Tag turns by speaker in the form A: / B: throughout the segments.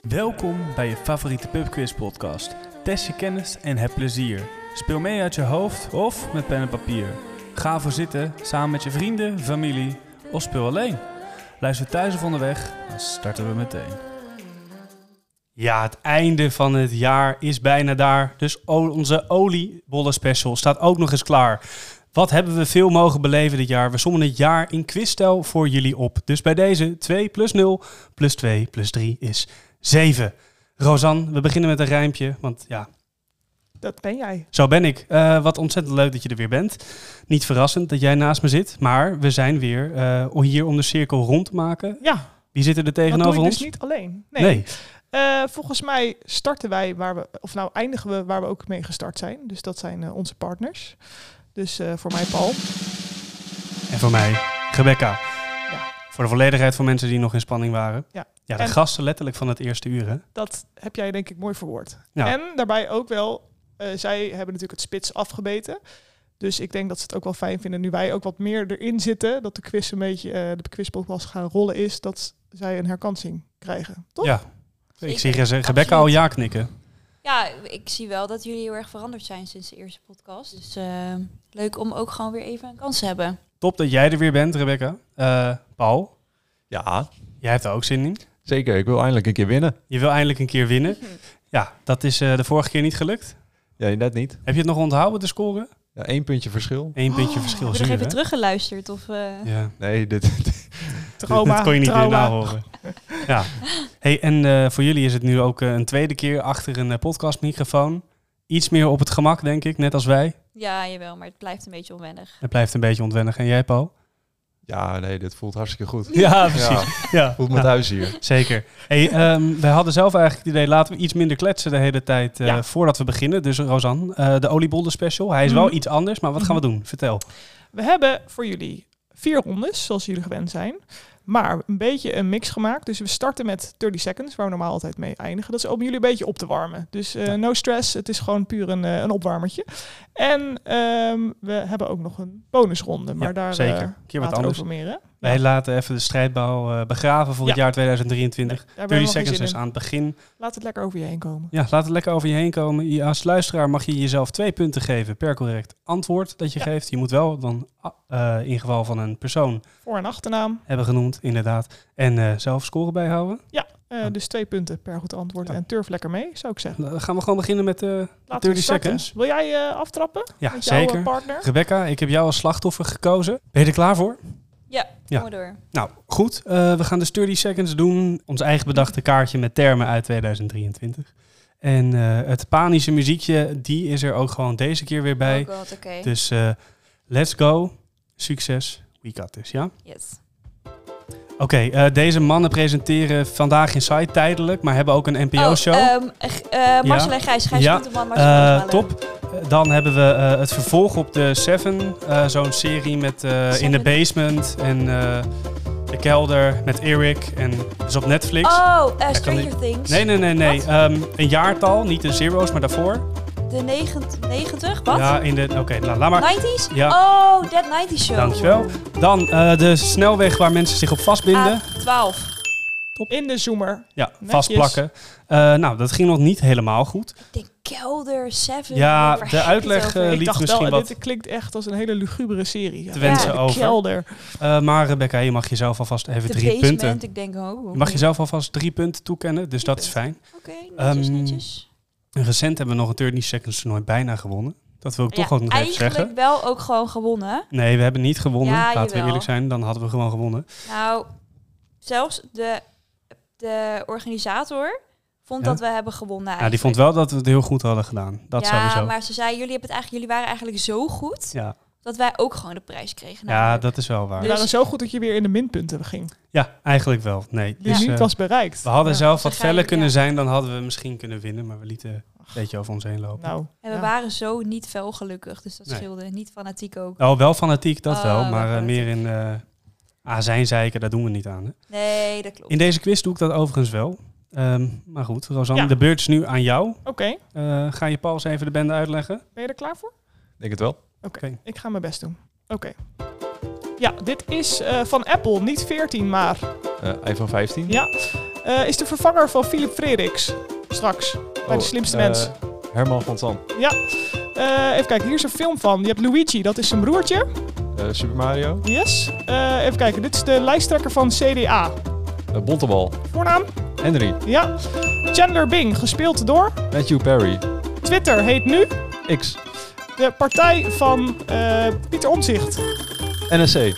A: Welkom bij je favoriete pubquiz podcast. Test je kennis en heb plezier. Speel mee uit je hoofd of met pen en papier. Ga voor zitten samen met je vrienden, familie of speel alleen. Luister thuis of onderweg, dan starten we meteen. Ja, het einde van het jaar is bijna daar. Dus o- onze oliebollen special staat ook nog eens klaar. Wat hebben we veel mogen beleven dit jaar? We sommen het jaar in quizstijl voor jullie op. Dus bij deze 2 plus 0 plus 2 plus 3 is 7. Rosanne, we beginnen met een rijmpje, want ja,
B: Dat ben jij.
A: zo ben ik. Eh, wat ontzettend leuk dat je er weer bent. Niet verrassend dat jij naast me zit, maar we zijn weer eh, om hier om de cirkel rond te maken.
B: Ja,
A: Wie zitten er
B: dat doe
A: tegenover
B: je
A: ons?
B: dus niet alleen. Nee. Eh, volgens mij starten wij waar we, of nou eindigen we waar we ook mee gestart zijn. Dus dat zijn eh, onze partners. Dus eh, voor mij Paul. dus?
A: En voor mij, Rebecca. Voor de volledigheid van mensen die nog in spanning waren.
B: Ja.
A: ja de
B: En-
A: gasten letterlijk van het eerste uur, hè?
B: Dat heb jij denk ik mooi verwoord.
A: Ja.
B: En daarbij ook wel, eh, zij hebben natuurlijk het spits afgebeten. Dus ik denk dat ze het ook wel fijn vinden nu wij ook wat meer erin zitten. Dat de quiz een beetje, eh de quizpodcast gaan rollen is. Dat zij een herkansing krijgen. Toch?
A: Ja. Ik
C: Zeker,
A: zie Reze- Rebecca
C: absoluut.
A: al ja knikken.
C: Ja, ik zie wel dat jullie heel erg veranderd zijn sinds de eerste podcast. Dus eh, leuk om ook gewoon weer even een kans te hebben.
A: Top dat jij er weer bent, Rebecca. Eh, Paul,
D: Ja,
A: jij hebt er ook zin in.
D: zeker. Ik wil eindelijk een keer winnen.
A: Je wil eindelijk een keer winnen. Ja, dat is eh, de vorige keer niet gelukt.
D: Ja, net niet.
A: Heb je het nog onthouden, de score?
D: Ja, één puntje verschil.
A: Eén puntje
C: Oh,
A: verschil.
C: Heb je
A: zuur,
C: nog even
A: hè?
C: teruggeluisterd? Of, eh,
A: Ja.
D: Nee, dit,
B: Trauma,
A: dat kon je niet meer
B: trauma.
A: nahoren. Ja. Hey, en eh, voor jullie is het nu ook eh, een tweede keer achter een eh, podcastmicrofoon. Iets meer op het gemak, denk ik, net als wij.
C: ja, jawel, maar het blijft een beetje onwennig.
A: Het blijft een beetje ontwennig. En jij, Paul?
D: ja, nee, dit voelt hartstikke goed.
A: Ja,
D: Ja,
A: Ja,
D: voelt me
A: nou,
D: thuis hier.
A: zeker. Hey, ehm, wij hadden zelf eigenlijk het idee, laten we iets minder kletsen de hele tijd eh,
B: Ja.
A: voordat we beginnen. Dus Rosanne, eh, de oliebollen special. Hij is wel
B: Mhm.
A: iets anders, maar wat gaan we doen? Vertel.
B: We hebben voor jullie vier rondes, zoals jullie gewend zijn. Maar een beetje een mix gemaakt. Dus we starten met 30 seconds, waar we normaal altijd mee eindigen. Dat is om jullie een beetje op te warmen. Dus eh, no stress, het is gewoon puur een, eh, een opwarmertje. En ehm, we hebben ook nog een bonusronde. Maar
A: Ja,
B: daar
A: zeker.
B: eh,
A: Een keer wat
B: later
A: anders.
B: over meer. Hè?
A: Wij laten even de strijdbouw eh, begraven voor het
B: Ja.
A: jaar 2023.
B: Nee, daar hebben we nog
A: 30
B: geen
A: seconds
B: zin
A: is
B: in.
A: aan het begin.
B: Laat het lekker over je heen komen.
A: Ja, laat het lekker over je heen komen. Je- Als luisteraar mag je jezelf twee punten geven per correct antwoord dat je
B: Ja.
A: geeft. Je moet wel dan ah, eh, in geval van een persoon
B: Voor- en achternaam.
A: hebben genoemd, inderdaad. En eh, zelf scoren bijhouden.
B: Eh,
A: Ja.
B: Dus twee punten per goed antwoord.
A: Ja.
B: En turf lekker mee, zou ik zeggen.
A: Dan gaan we gewoon beginnen met eh
B: Laten we
A: 30
B: starten.
A: seconds.
B: Wil jij eh, aftrappen
A: Ja,
B: met jouw eh,
A: zeker.
B: partner?
A: Rebecca, ik heb jou als slachtoffer gekozen. Ben je er klaar voor?
C: Ja,
A: Ja.
C: kom maar door.
A: Nou, goed. Eh, we gaan dus 30 seconds doen. Ons eigen bedachte kaartje met termen uit 2023. En eh, het panische muziekje, die is er ook gewoon deze keer weer bij.
C: Oh god, oké.
A: Dus eh, let's go. Succes. We got this, ja?
C: Yes.
A: Oké, eh, deze mannen presenteren vandaag in site tijdelijk, maar hebben ook een NPO-show.
C: Oh, ehm, eh, eh, Marcel en Gijs. Gijs
A: Ja.
C: ja. man, Marcel
A: Eh,
C: Groenteman.
A: top. Eh, Dan hebben we eh, het vervolg op de Seven. eh, Zo'n serie met eh, In the
C: Seven.
A: Basement en eh, De Kelder met Eric. En dat is op Netflix.
C: Oh, eh,
A: niet-
C: Stranger Things.
A: Nee, nee, nee, nee.
C: Wat?
A: Ehm, een jaartal, niet de zero's, maar daarvoor.
C: De negent- 90, wat?
A: Ja, in de. Oké, nou, laat maar.
C: 90s?
A: Ja.
C: Oh, Dead 90s Show.
A: Dankjewel. Dan eh, de snelweg waar mensen zich op vastbinden.
C: oh. Ah, 12.
B: In de zoomer.
A: Ja,
B: Netjes.
A: vastplakken. Eh, nou, dat ging nog niet helemaal goed.
C: De Kelder, Seven.
A: Ja,
C: waar heb
A: de
C: je het
A: uitleg,
C: over?
A: eh,
B: Ik
A: liet
B: dacht
A: misschien
B: wel,
A: wat-
B: dit klinkt echt als een hele lugubere serie. Ja.
A: Te wensen
B: de
A: over.
B: kelder.
A: Eh, maar Rebecca, je mag jezelf alvast even
C: de
A: drie
C: basement,
A: punten.
C: ik denk, oh.
A: Je mag jezelf alvast drie punten toekennen, dus dat is fijn.
C: Oké, netjes,
A: Ehm,
C: netjes.
A: En recent hebben we nog een 30 Seconds toernooi bijna gewonnen. Dat wil ik toch
C: Ja,
A: ook nog even
C: eigenlijk
A: zeggen.
C: wel ook gewoon gewonnen.
A: Nee, we hebben niet gewonnen.
C: Ja,
A: Laten we
C: jawel.
A: eerlijk zijn, dan hadden we gewoon gewonnen.
C: Nou, zelfs de, de organisator vond
A: Ja?
C: dat we hebben gewonnen
A: Ja, die
C: eigenlijk.
A: vond wel dat we het heel goed hadden gedaan. Dat
C: ja,
A: sowieso.
C: maar Nou, ze zei, jullie, hebben het eigenlijk, jullie waren eigenlijk zo goed,
A: Ja.
C: dat wij ook gewoon de prijs kregen.
A: ja,
C: namelijk.
A: dat is wel waar.
B: Die waren zo goed dat je weer in de minpunten ging.
A: Ja, eigenlijk wel. Nee,
B: Die
A: dus,
B: niet
A: eh,
B: was bereikt.
A: we hadden
B: Ja.
A: zelf wat
C: Ze
A: feller
C: gaan-
A: kunnen
C: ja.
A: zijn, dan hadden we misschien kunnen winnen. Maar we lieten een beetje over ons heen lopen.
B: Nou,
C: En we
B: ja.
C: waren zo niet fel gelukkig, dus dat
A: Nee.
C: scheelde. Niet fanatiek ook.
A: Nou, wel fanatiek, dat
C: Oh,
A: wel.
C: wel
A: Maar eh,
C: fanatiek.
A: meer in eh azijn zeiken, daar doen we niet aan. Hè?
C: Nee, dat klopt.
A: In deze quiz doe ik dat overigens wel. Ehm, maar goed, Rosanne,
B: Ja.
A: de beurt is nu aan jou.
B: Oké,
A: Eh, ga je Pauls even de bende uitleggen?
B: ben je er klaar voor?
D: Denk het wel.
B: Oké,
A: Oké.
B: ik ga mijn best doen. Oké. Ja, dit is eh, van Apple, niet 14, maar
E: Eh, iPhone 15.
B: ja. Eh, is de vervanger van Philip Frederiks. Straks, bij
E: Oh,
B: de slimste
E: eh,
B: mens.
E: Herman van Zand.
B: Eh, even kijken, hier is een film van. Je hebt Luigi, dat is zijn broertje.
E: Eh, Super Mario.
B: Yes. Eh, even kijken, dit is de lijsttrekker van CDA.
E: Eh, Bontebal.
B: Voornaam?
E: Henry.
B: Ja. Chandler Bing, gespeeld door.
E: Matthew Perry.
B: Twitter heet nu
E: X.
B: de partij van eh, Pieter Omzicht.
E: NSC.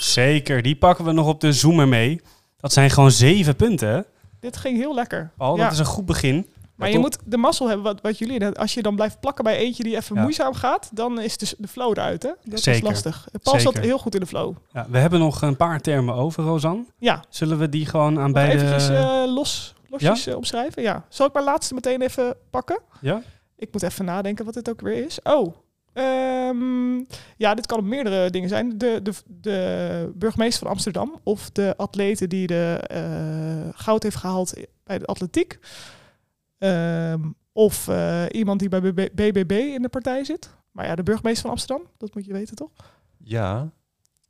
A: Zeker, die pakken we nog op de zoomer mee. Dat zijn gewoon zeven punten, hè?
B: Dit ging heel lekker.
A: Paul.
B: Ja.
A: Oh, Dat is een goed begin.
B: Maar
E: Ja,
B: je
E: top.
B: moet de mazzel hebben wat, wat jullie. dat Als je dan blijft plakken bij eentje die even
E: Ja.
B: moeizaam gaat, dan is de, de flow eruit. Hè? Dat is
A: Zeker.
B: lastig. Paul zat
A: Zeker.
B: heel goed in de flow.
A: Ja, we hebben nog een paar termen over, Rosan.
B: Ja,
A: Zullen we die gewoon aan
B: Mag ik
A: beide...
B: eventjes eh, los, losjes eh, omschrijven. Ja. Zal ik mijn laatste meteen even pakken?
A: Ja?
B: Ik moet even nadenken wat dit ook weer is. Oh, ehm, ja, dit kan op meerdere dingen zijn. De, de, de burgemeester van Amsterdam of de atlete die de eh, goud heeft gehaald bij de atletiek. Ehm, of eh, iemand die bij BB- BBB in de partij zit. Maar ja, de burgemeester van Amsterdam, dat moet je weten toch?
E: Ja.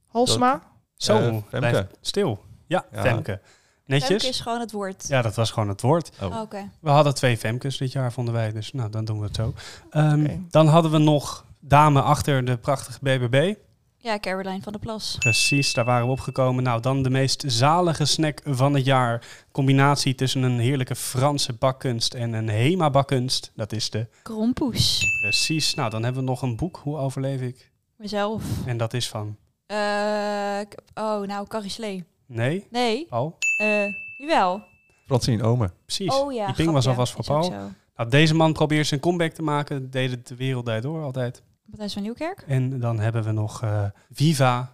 B: Halsma.
A: Zo,
E: Eh, Femke.
A: blijf stil. Ja,
E: Ja.
A: Femke. Netjes.
C: Femke is gewoon het woord.
A: Ja, dat was gewoon het woord.
E: Oh.
C: Oké.
A: We hadden twee Femkes dit jaar, vonden wij. Dus nou, dan doen we het zo. Ehm,
B: Oké.
A: Dan hadden we nog dame achter de prachtige BBB.
C: Ja, Caroline van der Plas.
A: Precies, daar waren we opgekomen. Nou, dan de meest zalige snack van het jaar. Combinatie tussen een heerlijke Franse bakkunst en een Hema-bakkunst. Dat is de...
C: Krompoes.
A: Precies. Nou, dan hebben we nog een boek. Hoe overleef ik?
C: Mezelf.
A: En dat is van...
C: Eh, k- oh, nou, Carrie Slee.
A: Nee?
C: Nee.
A: Paul?
C: Eh jawel.
E: Francine Omen.
A: Precies.
C: Oh ja.
A: Die ping
C: grap,
A: was
C: ja.
A: alvast voor
C: Is ook
A: Paul.
C: zo.
A: Nou, deze man probeert zijn comeback te maken. Deed het de wereld daar door altijd.
C: Matthijs van Nieuwkerk.
A: En dan hebben we nog eh, Viva.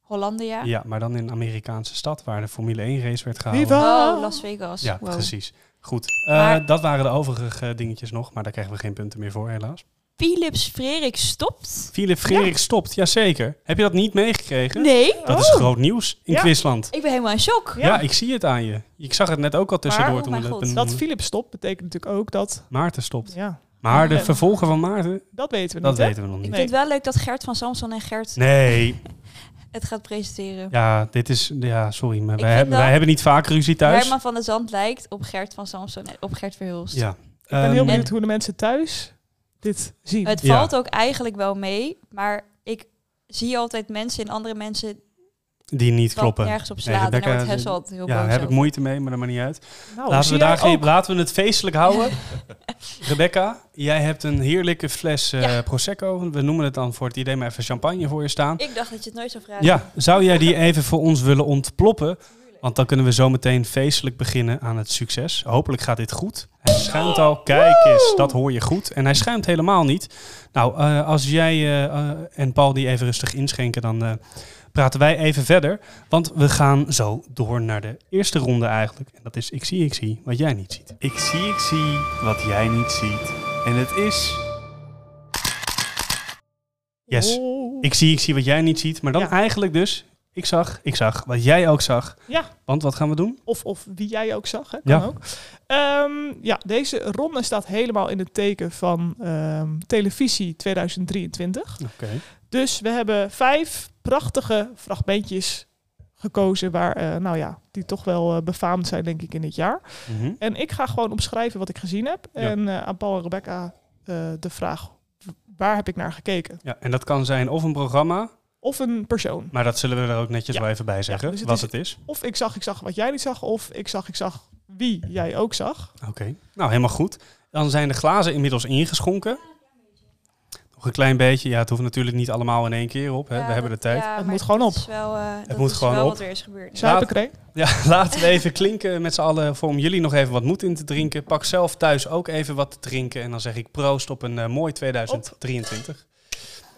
C: Hollandia.
A: Ja. maar dan in een Amerikaanse stad waar de Formule 1 race werd gehouden.
B: Viva!
C: Oh, Las Vegas.
A: Ja,
C: Wow.
A: precies. Goed. Eh,
C: Maar-
A: Dat waren de overige eh, dingetjes nog. Maar daar krijgen we geen punten meer voor, helaas.
C: Philips Frerik stopt?
A: Philip Frerik stopt. Jazeker. Heb je dat niet meegekregen?
C: Nee.
A: Dat is
B: Oh.
A: groot nieuws in
B: Ja.
A: Quizland.
C: Ik ben helemaal in shock.
A: Ja. ik zie het aan je. Ik zag het net ook al tussendoor
C: oh
A: toen
C: mijn
A: we
C: god,
A: het
B: Dat
A: benoemden.
B: Philips stopt betekent natuurlijk ook dat...
A: Maarten stopt.
B: Ja,
A: Maar de
B: Ja.
A: vervolgen van Maarten,
B: dat weten we
A: dat
B: niet. hè?
A: weten we nog
C: Ik
A: niet.
B: Nee.
C: vind het wel leuk dat Gert van Samson en Gert
A: Nee,
C: het gaat presenteren.
A: ja, dit is, ja, sorry, maar
C: Ik
A: wij
C: vind
A: hebben,
C: dat-
A: wij hebben niet vaak ruzie thuis.
C: Herman van der Zand lijkt op Gert van Samson en op Gert Verhulst.
A: Ja.
B: Ik ben heel
A: Ehm,
B: benieuwd hoe de mensen thuis dit zien.
C: Het
A: Ja.
C: valt ook eigenlijk wel mee, maar ik zie altijd mensen in andere mensen
A: Die niet
C: wat
A: kloppen.
C: nergens op
A: Nee,
C: slaan. en
A: Rebecca,
C: daar wordt Hessel altijd heel
A: ja, daar
C: boos
A: heb ik
C: over.
A: moeite mee, maar dat maakt niet uit.
B: Nou,
A: laten,
B: zie
A: we daar
B: jij
A: geen,
B: ook-
A: laten we het feestelijk houden. Rebecca, jij hebt een heerlijke fles eh,
C: Ja.
A: Prosecco. We noemen het dan voor het idee maar even champagne voor je staan.
C: Ik dacht dat je het nooit zou vragen.
A: Ja, zou jij die even voor ons willen ontploppen? Want dan kunnen we zometeen feestelijk beginnen aan het succes. Hopelijk gaat dit goed. Hij schuimt al. Kijk eens, dat hoor je goed. En hij schuimt helemaal niet. Nou, eh, als jij eh, eh, en Paul die even rustig inschenken, dan eh, praten wij even verder. Want we gaan zo door naar de eerste ronde eigenlijk. En dat is ik zie, ik zie wat jij niet ziet. Ik zie, ik zie wat jij niet ziet. En het is... Yes.
B: Oh.
A: Ik zie, ik zie wat jij niet ziet. Maar dan
B: Ja.
A: eigenlijk dus, ik zag, ik zag wat jij ook zag.
B: Ja.
A: Want wat gaan we doen?
B: Of, of wie jij ook zag, hè? kan
A: Ja.
B: ook. Ehm, ja, deze ronde staat helemaal in het teken van ehm, televisie 2023.
A: Oké.
B: Dus we hebben vijf prachtige fragmentjes gekozen waar, eh, nou ja, die toch wel eh, befaamd zijn, denk ik, in dit jaar.
A: Mhm.
B: En ik ga gewoon omschrijven wat ik gezien heb.
A: Ja.
B: En eh, aan Paul en Rebecca eh, de vraag, w- waar heb ik naar gekeken?
A: Ja, en dat kan zijn of een programma,
B: Of een persoon.
A: maar dat zullen we er ook netjes
B: Ja.
A: wel even bij zeggen,
B: dus het
A: wat
B: is-
A: het is.
B: Of ik zag, ik zag wat jij niet zag. Of ik zag, ik zag wie jij ook zag.
A: Oké. Nou, helemaal goed. Dan zijn de glazen inmiddels ingeschonken. Nog een klein beetje. Ja, het hoeft natuurlijk niet allemaal in één keer op. Hè.
C: Ja,
A: we hebben de
C: dat-
A: tijd.
C: ja,
B: Het
C: maar
B: moet gewoon
C: dat
B: op.
C: Is wel, eh, dat
A: moet
C: is
A: gewoon
C: wel
A: op.
C: wat er is gebeurd.
A: Zou-
B: Zuip ik er een?
A: Ja, laten we even klinken met z'n allen voor om jullie nog even wat moed in te drinken. Pak zelf thuis ook even wat te drinken. En dan zeg ik proost op een eh, mooi 2023.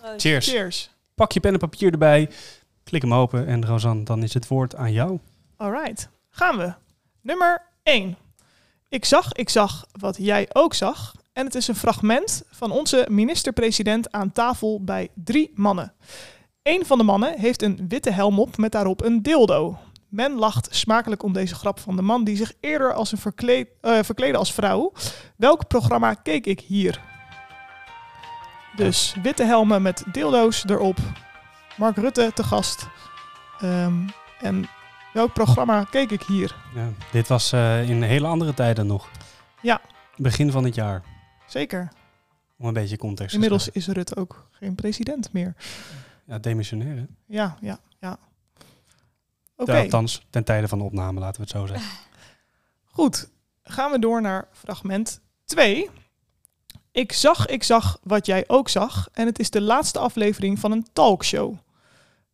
C: Proost.
A: Cheers.
B: Cheers.
A: Pak je pen en papier erbij. Klik hem open en Rosanne, dan is het woord aan jou.
B: Alright. Gaan we. Nummer 1. Ik zag, ik zag wat jij ook zag. En het is een fragment van onze minister-president aan tafel bij drie mannen. Eén van de mannen heeft een witte helm op met daarop een dildo. Men lacht smakelijk om deze grap van de man die zich eerder als een verkleed, eh, verkleedde als vrouw. Welk programma keek ik hier? Dus witte helmen met dildo's erop. Mark Rutte te gast. Ehm, en welk programma keek ik hier?
A: Ja, dit was eh, in hele andere tijden nog.
B: Ja.
A: Begin van het jaar.
B: Zeker.
A: Om een beetje context
B: Inmiddels
A: te
B: is Rutte ook geen president meer.
A: scheppen. Ja, demissionair hè?
B: Ja, ja, ja. Oké,
A: Ja, Althans, ten tijde van de opname, laten we het zo zeggen.
B: goed. Gaan we door naar fragment 2. Ik zag, ik zag wat jij ook zag. En het is de laatste aflevering van een talkshow.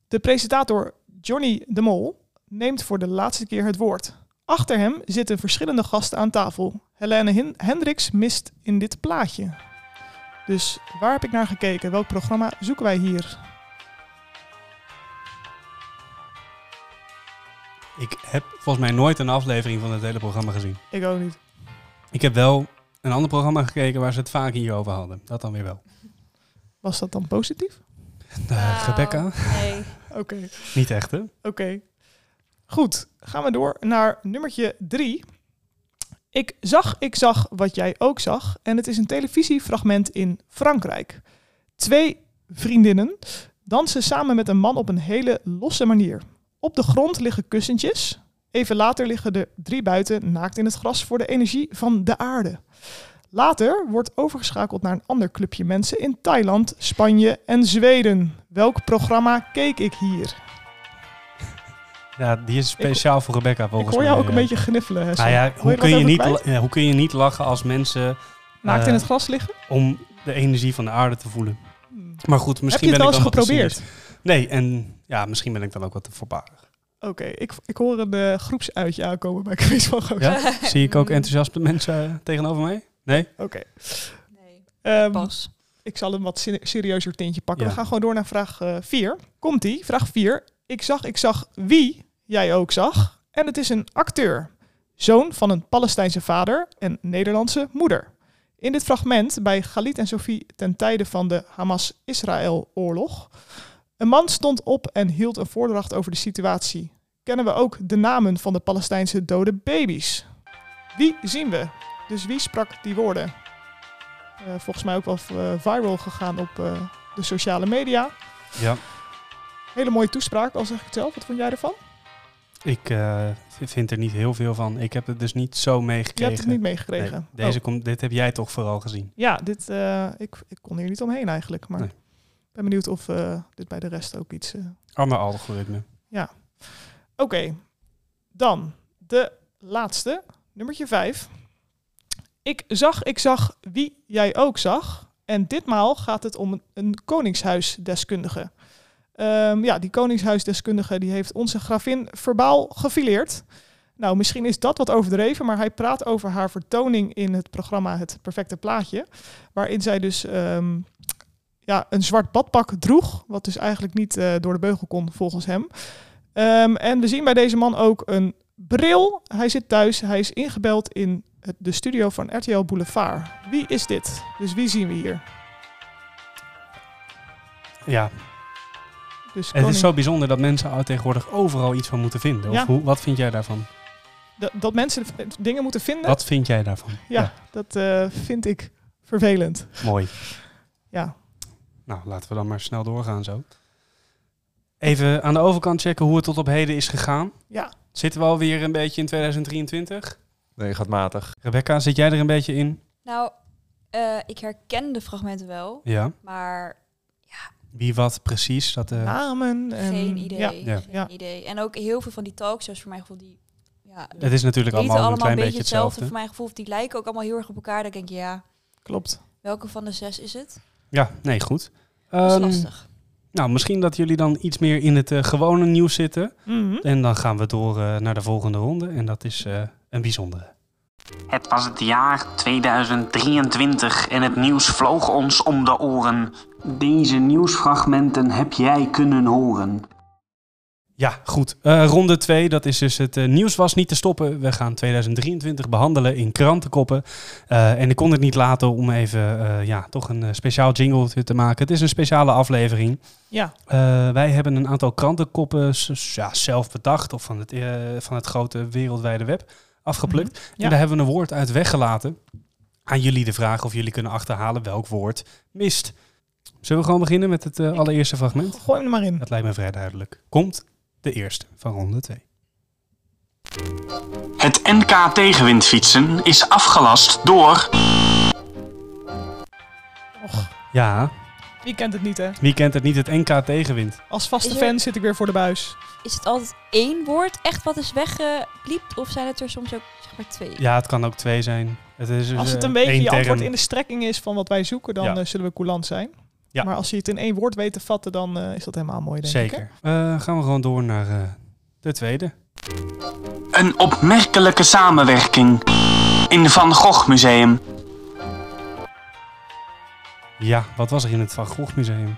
B: De presentator Johnny de Mol neemt voor de laatste keer het woord. Achter hem zitten verschillende gasten aan tafel. Helene Hin- Hendricks mist in dit plaatje. Dus waar heb ik naar gekeken? Welk programma zoeken wij hier? Ah.
A: Ik heb volgens mij nooit een aflevering van het hele programma gezien.
B: Ik ook niet.
A: Ik heb wel een ander programma gekeken waar ze het vaak hierover hadden. Dat dan weer wel.
B: Was dat dan positief?
A: Eh, Rebecca?
C: Nou, Nee.
B: Oké.
A: Niet echt hè?
B: Oké. Goed, gaan we door naar nummertje drie. Ik zag, ik zag wat jij ook zag. En het is een televisiefragment in Frankrijk. Twee vriendinnen dansen samen met een man op een hele losse manier. Op de grond liggen kussentjes. Even later liggen de drie buiten naakt in het gras voor de energie van de aarde. Later wordt overgeschakeld naar een ander clubje mensen in Thailand, Spanje en Zweden. Welk programma keek ik hier?
A: Ja, die is speciaal voor Rebecca
B: Ik
A: volgens
B: hoor
A: mij.
B: jou ook een
A: ja.
B: beetje gniffelen. Hè,
A: Nou
B: Sam.
A: ja,
B: je
A: hoe
B: dat
A: kun, je
B: even
A: niet,
B: kwijt?
A: la- ja, hoe kun je niet lachen als mensen
B: Naakt in
A: eh,
B: het gras liggen?
A: om de energie van de aarde te voelen? Maar goed, misschien
B: Heb je
A: ben
B: het
A: ik
B: al
A: dan
B: eens geprobeerd?
A: wat cynisch. Nee, en ja, misschien ben ik dan ook wat te voorbarig.
B: Oké, ik, ik hoor een eh, groepsuitje aankomen bij Quiz van Goos.
A: Ja? Zie ik
B: Mm.
A: ook enthousiaste mensen eh, tegenover mij? Nee?
B: Oké.
C: nee.
B: ehm,
C: Pas.
B: ik zal een wat seri- serieuzer tintje pakken.
A: Ja.
B: We gaan gewoon door naar vraag 4. Komt die? Vraag 4. Ik zag, ik zag wie jij ook zag. En het is een acteur. Zoon van een Palestijnse vader en Nederlandse moeder. In dit fragment bij Galit en Sophie ten tijde van de Hamas-Israël-oorlog. Een man stond op en hield een voordracht over de situatie. Kennen we ook de namen van de Palestijnse dode baby's? Wie zien we? Dus wie sprak die woorden? Eh, volgens mij ook wel eh, viral gegaan op eh, de sociale media.
A: Ja.
B: Hele mooie toespraak, al zeg ik het zelf. Wat vond jij ervan?
A: Ik eh, vind er niet heel veel van. Ik heb het dus niet zo meegekregen.
B: Je hebt het niet
A: Nee,
B: meegekregen.
A: deze
B: Oh,
A: komt, dit heb jij toch vooral gezien.
B: ja, dit, eh, ik, ik kon hier niet omheen eigenlijk. Maar ik
A: Nee.
B: ben benieuwd of eh, dit bij de rest ook iets... eh,
A: Ander algoritme.
B: Oké, dan de laatste, nummertje 5. Ik zag, ik zag wie jij ook zag. En ditmaal gaat het om een- een koningshuisdeskundige. Ehm, ja, die koningshuisdeskundige die heeft onze gravin verbaal gefileerd. Nou, misschien is dat wat overdreven, maar hij praat over haar vertoning in het programma Het Perfecte Plaatje. Waarin zij dus ehm, ja, een zwart badpak droeg, wat dus eigenlijk niet eh, door de beugel kon volgens hem. Ehm, en we zien bij deze man ook een bril. Hij zit thuis, hij is ingebeld in het, de studio van RTL Boulevard. Wie is dit? Dus wie zien we hier?
A: Ja,
B: Dus
A: het
B: koning-
A: is zo bijzonder dat mensen al tegenwoordig overal iets van moeten vinden. Of
B: Ja.
A: hoe, wat vind jij daarvan?
B: dat, dat mensen v- dingen moeten vinden,
A: Wat vind jij daarvan?
B: ja, dat eh, vind ik vervelend.
A: Ja, mooi.
B: Ja,
A: Nou, laten we dan maar snel doorgaan zo. Even aan de overkant checken hoe het tot op heden is gegaan.
B: ja.
A: Zitten we alweer een beetje in 2023?
E: Nee, gaat matig.
A: Rebecca, zit jij er een beetje in?
C: Nou, eh, ik herken de fragmenten wel,
A: Ja.
C: maar
A: Wie wat precies? Dat, eh,
C: Nou,
B: namen. En,
C: geen idee.
B: Ja,
A: Ja.
C: Geen
B: Ja.
C: idee. En ook heel veel van die talkshows voor mijn gevoel, die ja,
A: het is natuurlijk
C: heten
A: allemaal,
C: allemaal
A: een klein beetje hetzelfde.
C: voor mijn gevoel. Of Die lijken ook allemaal heel erg op elkaar. Dan denk je, ja,
B: klopt.
C: welke van de zes is het?
A: Ja, nee, goed.
C: Dat is
A: Ehm,
C: lastig.
A: nou, misschien dat jullie dan iets meer in het eh, gewone nieuws zitten.
B: Mhm.
A: En dan gaan we door eh, naar de volgende ronde. En dat is eh, een bijzondere.
F: Het was het jaar 2023 en het nieuws vloog ons om de oren. Deze nieuwsfragmenten heb jij kunnen horen.
A: Ja, goed. Eh, ronde 2, dat is dus het eh, nieuws was niet te stoppen. We gaan 2023 behandelen in krantenkoppen. Eh, en ik kon het niet laten om even eh, ja, toch een eh, speciaal jingle te maken. Het is een speciale aflevering.
B: Ja,
A: Eh, wij hebben een aantal krantenkoppen s- s- ja, zelf bedacht of van het, eh, van het grote wereldwijde web afgeplukt.
B: Mhm, ja.
A: En daar hebben we een woord uit weggelaten. Aan jullie de vraag of jullie kunnen achterhalen welk woord mist. Zullen we gewoon beginnen met het eh, allereerste fragment?
B: Gooi hem er maar in.
A: Dat lijkt me vrij duidelijk. Komt de eerste van ronde 2.
F: Het NK tegenwindfietsen is afgelast door
A: Ja,
B: Wie kent het niet, hè?
A: wie kent het niet? Het NK tegenwind.
B: Als vaste
C: Is er-
B: fan zit ik weer voor de buis.
C: Is het altijd één woord echt wat is weggebliept? Of zijn het er soms ook zeg maar twee?
A: Ja, het kan ook twee zijn. Het is dus,
B: Als het een
A: eh,
B: beetje
A: één
B: je antwoord
A: term.
B: in de strekking is van wat wij zoeken, dan
A: Ja.
B: eh, zullen we coulant zijn.
A: Ja.
B: Maar als je het in één woord weet te vatten, dan eh, is dat helemaal mooi, denk ik.
A: Zeker.
B: hè?
A: Eh, gaan we gewoon door naar eh, de tweede.
F: een opmerkelijke samenwerking in Van Gogh Museum.
A: Ja, wat was er in het Van Gogh Museum?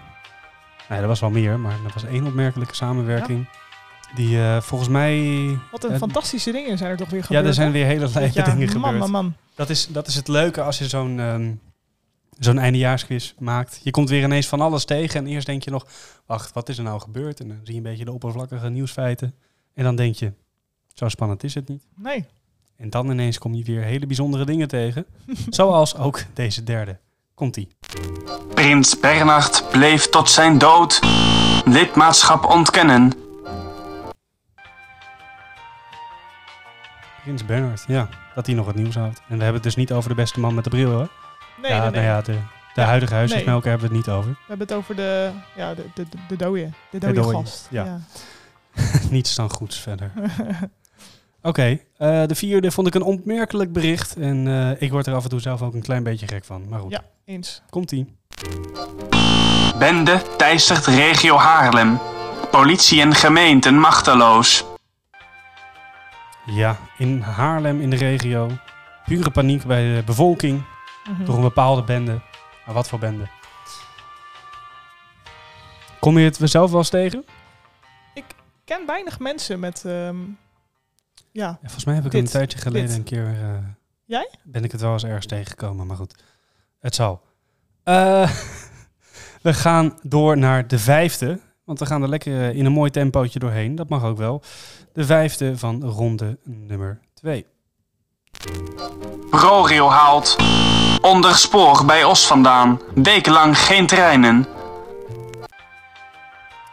A: Nee, er was wel meer, maar er was één opmerkelijke samenwerking. Die eh, volgens mij...
B: Wat een
A: Ja,
B: fantastische dingen zijn er toch weer gebeurd.
A: Ja, er zijn
B: hè?
A: weer hele
B: Dit
A: leuke
B: jaar.
A: dingen
B: man,
A: gebeurd.
B: Man, man,
A: Dat, is, dat is het leuke als je zo'n ehm, zo'n eindejaarsquiz maakt. Je komt weer ineens van alles tegen en eerst denk je nog... Wacht, wat is er nou gebeurd? En dan zie je een beetje de oppervlakkige nieuwsfeiten. En dan denk je, zo spannend is het niet.
B: Nee.
A: En dan ineens kom je weer hele bijzondere dingen tegen. Zoals ook deze derde. Komt-ie.
F: Prins Bernhard bleef tot zijn dood lidmaatschap ontkennen.
A: Prins Bernhard, ja. Dat hij nog het nieuws houdt. En we hebben het dus niet over de beste man met de bril, hoor.
B: Nee,
A: ja,
B: nee, nee.
A: nou ja, de, de huidige huisjesmelker
B: nee.
A: hebben we het niet over.
B: We hebben het over de, ja, de, de, de dode. De dode,
A: dode,
B: gast.
A: ja. Niets dan goeds verder. Oké, eh, de vierde vond ik een opmerkelijk bericht. En eh, ik word er af en toe zelf ook een klein beetje gek van. Maar goed,
B: Ja. Eens.
A: komt-ie.
F: Bende teistert regio Haarlem. Politie en gemeenten machteloos.
A: Ja, in Haarlem in de regio. Pure paniek bij de bevolking.
B: Mhm.
A: Door een bepaalde bende. Maar wat voor bende? Kom je het zelf wel eens tegen?
B: Ik ken weinig mensen met... ehm, ja,
A: Ja, Volgens mij heb ik
B: Dit,
A: een tijdje geleden
B: dit.
A: een keer... eh,
B: Jij?
A: Ben ik het wel eens ergens tegengekomen, maar goed. Het zal. Eh, we gaan door naar de vijfde. Want we gaan er lekker eh, in een mooi tempootje doorheen. Dat mag ook wel. De vijfde van ronde nummer twee.
F: ProRail haalt onder spoor bij Os vandaan. Wekenlang geen treinen.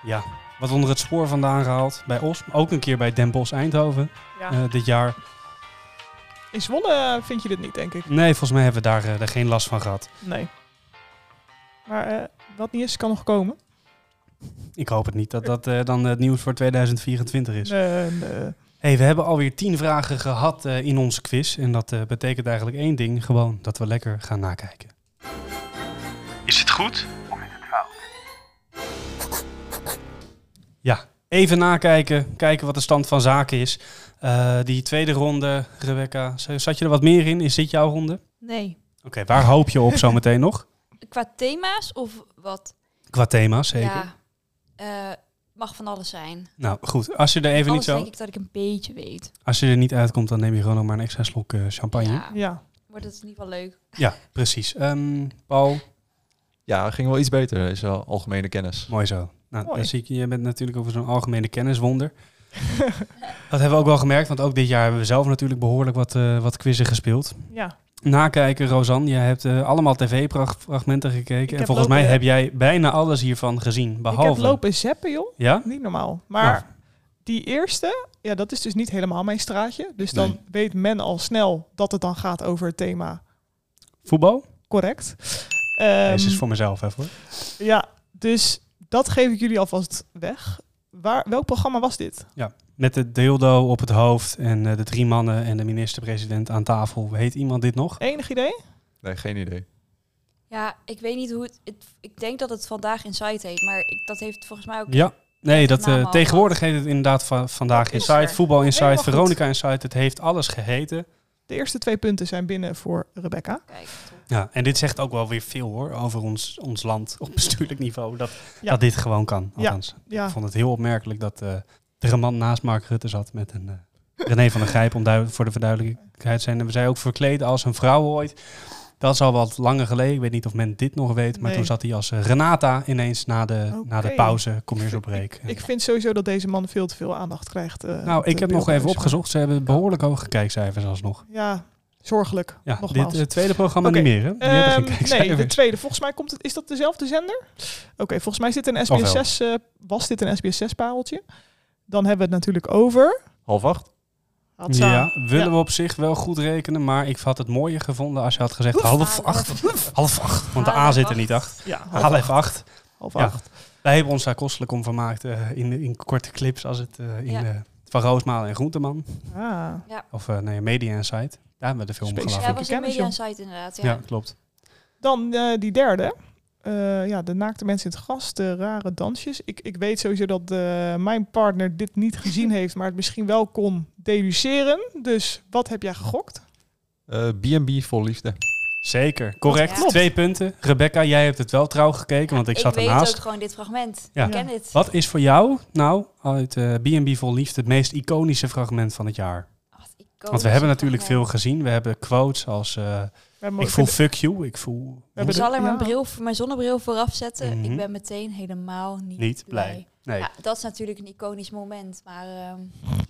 A: Ja, wat onder het spoor vandaan gehaald bij Os. Ook een keer bij Den Bosch Eindhoven
B: ja.
A: eh, dit jaar.
B: in Zwolle vind je dit niet, denk ik.
A: Nee, volgens mij hebben we daar, eh, daar geen last van gehad.
B: Nee. Maar eh, wat niet is, kan nog komen.
A: Ik hoop het niet dat dat eh, dan het nieuws voor 2024 is.
B: Nee, nee.
A: Hey, we hebben alweer tien vragen gehad eh, in onze quiz. En dat eh, betekent eigenlijk één ding. Gewoon dat we lekker gaan nakijken.
F: Is het goed?
A: Ja, even nakijken. Kijken wat de stand van zaken is. Eh, die tweede ronde, Rebecca, z- zat je er wat meer in? Is dit jouw ronde? Oké,
C: Nee.
A: waar hoop je op zometeen nog?
C: Qua thema's of wat?
A: Qua thema's, zeker.
C: Ja. Eh, mag van alles zijn.
A: Nou goed, als je er even niet,
C: Anders
A: zo,
C: denk ik dat ik een beetje weet.
A: als je er niet uitkomt, dan neem je gewoon nog maar een extra slok eh, champagne. Ja,
C: Ja.
B: ja.
C: Wordt het in ieder geval leuk.
A: precies. Ehm, Paul,
E: Ja, ging wel iets beter. Is wel algemene kennis.
A: mooi zo. Nou,
B: Mooi.
A: dan zie ik, je bent natuurlijk over zo'n algemene kenniswonder. Dat hebben we ook wel gemerkt, want ook dit jaar hebben we zelf natuurlijk behoorlijk wat, eh, wat quizzen gespeeld.
B: ja.
A: nakijken, Rosanne. Jij hebt eh, allemaal tv-fragmenten gekeken. En
B: heb
A: volgens
B: lopen-
A: mij heb jij bijna alles hiervan gezien.
B: Ik
A: Behalve.
B: heb lopen zeppen, joh.
A: Ja?
B: Niet normaal. Maar die eerste, ja, dat is dus niet helemaal mijn straatje. Dus dan
E: Nee.
B: weet men al snel dat het dan gaat over het thema
A: Voetbal?
B: correct. Ehm,
A: Deze is voor mezelf even hoor.
B: Ja, dus dat geef ik jullie alvast weg. Waar, welk programma was dit?
A: Met de dildo op het hoofd en eh, de drie mannen en de minister-president aan tafel. Heet iemand dit nog?
B: Enig idee?
E: Nee, geen idee.
C: Ja, ik weet niet hoe het... het- ik denk dat het Vandaag Insight heet, maar ik, dat heeft volgens mij ook...
A: Ja. Nee, dat, eh,
C: Naam al.
A: tegenwoordig heet het inderdaad va- Vandaag
C: Dat is
A: Inside,
C: er.
A: Voetbal Inside,
B: Helemaal goed.
A: Veronica Inside. Het heeft alles geheten.
B: De eerste twee punten zijn binnen voor Rebecca.
C: Kijk, top.
A: Ja, en dit zegt ook wel weer veel hoor over ons, ons land op bestuurlijk niveau. Dat,
B: Ja.
A: dat dit gewoon kan.
B: Ja.
A: Althans,
B: Ja,
A: Ik vond het heel opmerkelijk dat eh, er een man naast Mark Rutte zat met een eh, René van der Grijp, om duid- voor de verduidelijkheid zijn. En we zijn ook verkleed als een vrouw ooit. Dat is al wat langer geleden. Ik weet niet of men dit nog weet. Maar
B: Nee.
A: toen zat hij als eh, Renata ineens na de, na de
B: Oké.
A: pauze. Kom eens op reek.
B: ik vind sowieso dat deze man veel te veel aandacht krijgt. eh,
A: nou,
B: op
A: ik
B: de
A: heb nog even
B: beeldenlijst.
A: opgezocht. Ze hebben behoorlijk hoge kijkcijfers alsnog.
B: Ja, Zorgelijk,
A: Ja,
B: nogmaals.
A: dit eh, tweede programma
B: Oké,
A: niet meer, hè? Die hebben geen
B: Ehm, nee,
A: kijkcijfers.
B: de tweede. Volgens mij komt het. Is dat dezelfde zender? Oké, volgens mij is dit een
A: Kan wel.
B: SBS6. eh, was dit een SBS6-pareltje? Dan hebben we het natuurlijk over.
E: Half acht?
B: Hatsa.
A: Ja, willen
B: eh, Ja.
A: we op zich wel goed rekenen, maar ik had het mooier gevonden als je had gezegd half acht. Half acht, want de A
C: Half
A: zit er
C: acht.
A: niet acht.
B: Ja, half,
A: Half acht.
B: half
A: Ja.
B: acht.
A: Wij hebben ons daar kostelijk om vermaakt eh, in, in korte clips als het eh, in
C: Ja.
A: eh, Van Roosmalen en Groenteman.
B: Ah,
A: Of eh, nee, Media Insight. Daar hebben we de film
B: Specifiek.
C: Ja,
A: gelaten.
C: was een
B: kennis,
C: media
B: joh.
C: site inderdaad. Ja.
A: Ja, klopt.
B: Dan eh, die derde. Eh, ja, de naakte mensen in het gras, de rare dansjes. Ik, ik weet sowieso dat eh, mijn partner dit niet gezien heeft, maar het misschien wel kon deduceren. Dus wat heb jij gegokt?
E: Eh, B&B vol liefde.
A: Zeker. Correct.
C: Ja. Klopt.
A: Twee punten. Rebecca, jij hebt het wel trouw gekeken, want ik, zat
C: weet
A: ernaast.
C: ook gewoon dit fragment.
A: Ja.
C: Ik ken dit.
A: Wat is voor jou nou uit eh, B&B Vol Liefde het meest iconische fragment van het jaar?
C: Wat
A: Want we hebben natuurlijk veel gezien. We hebben quotes als eh,
B: We hebben-
A: ik voel fuck you, ik voel
B: hebben
C: Ik zal er mijn,
B: Ja.
C: bril, mijn zonnebril vooraf zetten.
A: Mhm.
C: Ik ben meteen helemaal niet,
A: niet blij. Nee.
C: Ja, dat is natuurlijk een iconisch moment, maar ehm,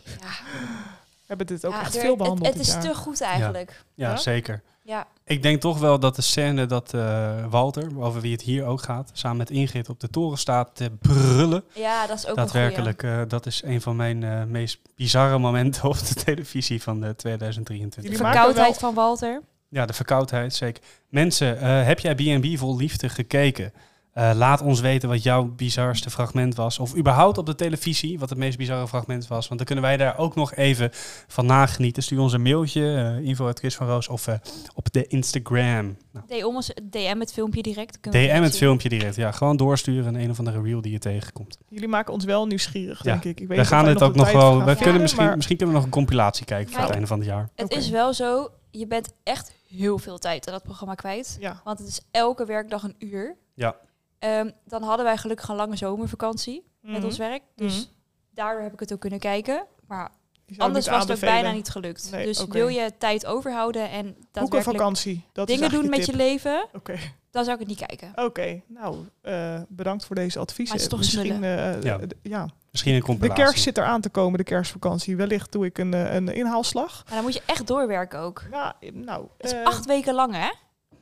C: ja.
B: we hebben dit ook
C: Ja,
B: echt
C: er-
B: veel behandeld.
C: Het, het
B: dit
C: is
B: jaar.
C: te goed eigenlijk.
A: Ja,
B: Ja?
A: zeker.
C: Ja,
A: Ik denk toch wel dat de scène dat eh, Walter, over wie het hier ook gaat, samen met Ingrid op de toren staat te brullen.
C: ja. dat is ook
A: Daadwerkelijk, eh, dat is een van mijn eh, meest bizarre momenten op de televisie van eh,
C: een
A: 2023.
C: goeie.
B: Jullie
C: De
B: maken
C: verkoudheid
B: wel-
C: van Walter.
A: Ja, de verkoudheid, zeker. Mensen, eh, heb jij B&B vol liefde gekeken? Eh, laat ons weten wat jouw bizarste fragment was. Of überhaupt op de televisie wat het meest bizarre fragment was. Want dan kunnen wij daar ook nog even van nagenieten. Stuur ons een mailtje, eh info van Roos of eh, op de Instagram. Nou,
C: DM, ons- DM het filmpje direct. kunnen we
A: DM het
C: zien.
A: filmpje direct. Ja, gewoon doorsturen en een of andere reel die je tegenkomt.
B: Jullie maken ons wel nieuwsgierig,
A: Ja.
B: denk ik. ik weet
A: we
B: niet of
A: gaan
B: wij
A: het ook
B: de
A: nog
B: tijd
A: wel.
B: gaan
A: We
B: vinden,
A: kunnen misschien,
B: maar-
A: misschien kunnen we nog een compilatie kijken voor
C: Ja.
A: het einde van het jaar.
C: Het
B: Oké.
C: is wel zo, je bent echt heel veel tijd aan dat programma kwijt.
B: Ja.
C: Want het is elke werkdag een uur.
A: Ja.
C: Ehm, dan hadden wij gelukkig een lange zomervakantie met ons werk. Dus
B: Mhm.
C: daardoor heb ik het ook kunnen kijken. Maar
B: Die zou
C: anders
B: ik
C: was
B: niet
C: het ook
B: aanbevelen.
C: bijna niet gelukt.
B: Nee,
C: dus
B: oké.
C: wil je tijd overhouden en
B: Boek een
C: daadwerkelijk
B: vakantie. Dat is
C: dingen doen
B: eigenlijk
C: met
B: de
C: je leven,
B: tip. Oké,
C: dan zou ik het niet kijken.
B: oké. nou, eh, bedankt voor deze adviezen.
C: Maar het is toch
B: misschien, eh,
A: Ja.
B: d- ja.
A: Misschien een
B: De
A: compilatie.
B: kerst zit eraan te komen, de kerstvakantie. Wellicht doe ik een, eh, een inhaalslag.
C: Maar dan moet je echt doorwerken ook.
B: Ja, eh, nou,
C: Het is
B: eh,
C: Dus acht weken lang, hè?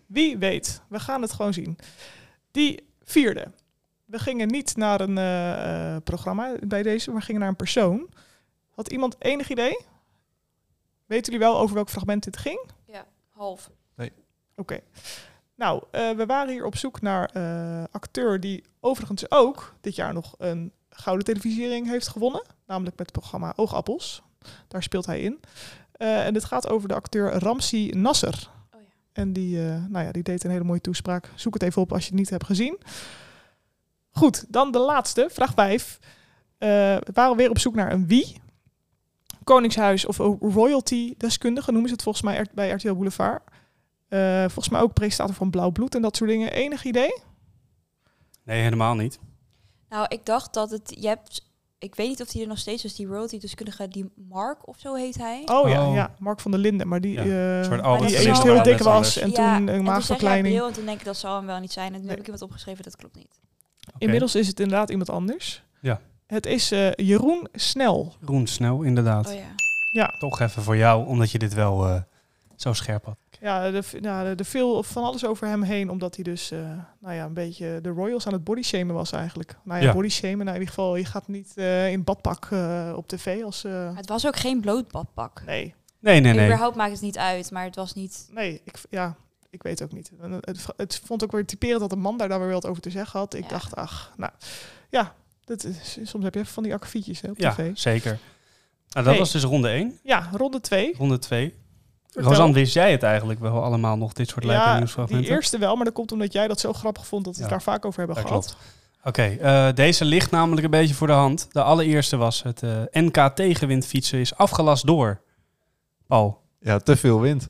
B: wie weet. We gaan het gewoon zien. Die vierde. We gingen niet naar een eh, eh, programma bij deze, maar gingen naar een persoon. Had iemand enig idee? Weten jullie wel over welk fragment dit ging?
C: Half.
B: Oké. Nou, eh, we waren hier op zoek naar eh acteur die overigens ook dit jaar nog een gouden televisiering heeft gewonnen. Namelijk met het programma Oogappels. Daar speelt hij in. Eh, en het gaat over de acteur Ramsi Nasser.
C: Oh ja.
B: En die, eh, nou ja, die deed een hele mooie toespraak. Zoek het even op als je het niet hebt gezien. Goed, dan de laatste, vraag 5. we waren weer op zoek naar een wie. Koningshuis of royalty-deskundige noemen ze het volgens mij bij RTL Boulevard. Eh, volgens mij ook presentator van Blauw Bloed en dat soort dingen. Enig idee?
A: Nee, helemaal niet.
C: Nou, ik dacht dat het... Je hebt, ik weet niet of die er nog steeds is, die royalty-deskundige, die Mark of zo heet hij.
B: Oh, Ja,
A: Oh.
B: ja, Mark van der Linden. Maar die,
A: Ja,
B: eh,
A: een soort
C: Maar
A: oude
C: dat
B: die
C: is
B: eerst
C: wel-
B: heel
A: net
B: dik was
A: anders.
B: en
C: Ja,
B: toen eh, een
C: en toen zeg jij
B: maagverkleining.
C: bril en toen denk ik, dat zal hem wel niet zijn. En nu heb ik iemand opgeschreven, dat klopt niet.
B: Inmiddels is het inderdaad iemand anders.
A: Ja.
B: Het is eh, Jeroen Snel.
A: Roen Snel, inderdaad.
C: Oh ja.
A: Toch even voor jou, omdat je dit wel eh, zo scherp had.
B: Ja, nou, er ja, er- er viel van alles over hem heen, omdat hij dus eh, nou ja, een beetje de royals aan het bodyshamen was eigenlijk. Nou ja,
A: Ja.
B: bodyshamen, nou, in ieder geval, je gaat niet eh, in badpak eh, op tv als... eh,
C: Maar het was ook geen bloot badpak.
B: nee,
A: Nee, nee, nee.
C: Überhaupt maakt het niet uit, maar het was niet...
B: nee, ik, ja, ik weet ook niet. En eh, Het, het vond ook weer typerend dat een man daar dan weer wat over te zeggen had. Ik
C: Ja.
B: dacht, ach, nou, ja, dat is, soms heb je van die akkefietjes hè, op
A: Ja,
B: tv.
A: zeker. Nou, dat
B: Nee.
A: was dus ronde 1.
B: Ja, ronde 2.
A: Ronde 2.
B: Vertel.
A: Rosanne, wist jij het eigenlijk wel allemaal nog, dit soort leuke nieuwsfragmenten?
B: die eerste wel, maar dat komt omdat jij dat zo grappig vond dat we het
A: Ja,
B: daar vaak over hebben
A: dat
B: gehad.
A: Oké, eh, deze ligt namelijk een beetje voor de hand. De allereerste was het eh, NK tegenwindfietsen is afgelast door... Paul.
E: Ja, te veel wind.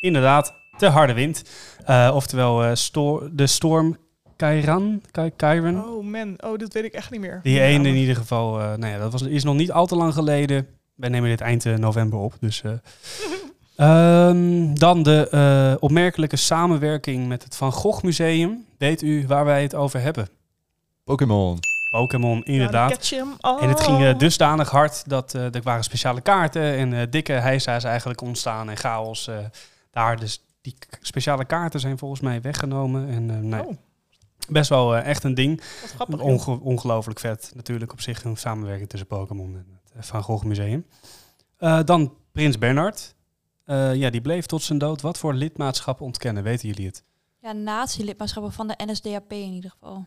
A: Inderdaad, te harde wind. Eh, oftewel eh, sto- de storm Kairan. Kai- Kairan?
B: Oh man, oh, dat weet ik echt niet meer.
A: Die
B: Ja,
A: ene in
B: maar-
A: ieder geval, eh, nou ja, dat was, is nog niet al te lang geleden. Wij nemen dit eind eh, november op, dus... eh. Ehm, dan de eh, opmerkelijke samenwerking met het Van Gogh Museum. Weet u waar wij het over hebben?
E: Pokémon.
A: Pokémon,
B: Ja,
A: inderdaad.
B: catch him. Oh.
A: En het ging eh, dusdanig hard dat eh, er waren speciale kaarten en eh, dikke heisa is eigenlijk ontstaan en chaos eh, daar. Dus die k- speciale kaarten zijn volgens mij weggenomen. En eh, nou ja,
B: Oh,
A: best wel eh, echt een ding.
B: wat grappig.
A: Onge- ongelooflijk vet natuurlijk op zich een samenwerking tussen Pokémon en het Van Gogh Museum. Eh, dan Prins Bernhard. Eh, ja, die bleef tot zijn dood. Wat voor lidmaatschap ontkennen, weten jullie het?
C: Ja, nazi-lidmaatschappen van de NSDAP in ieder geval.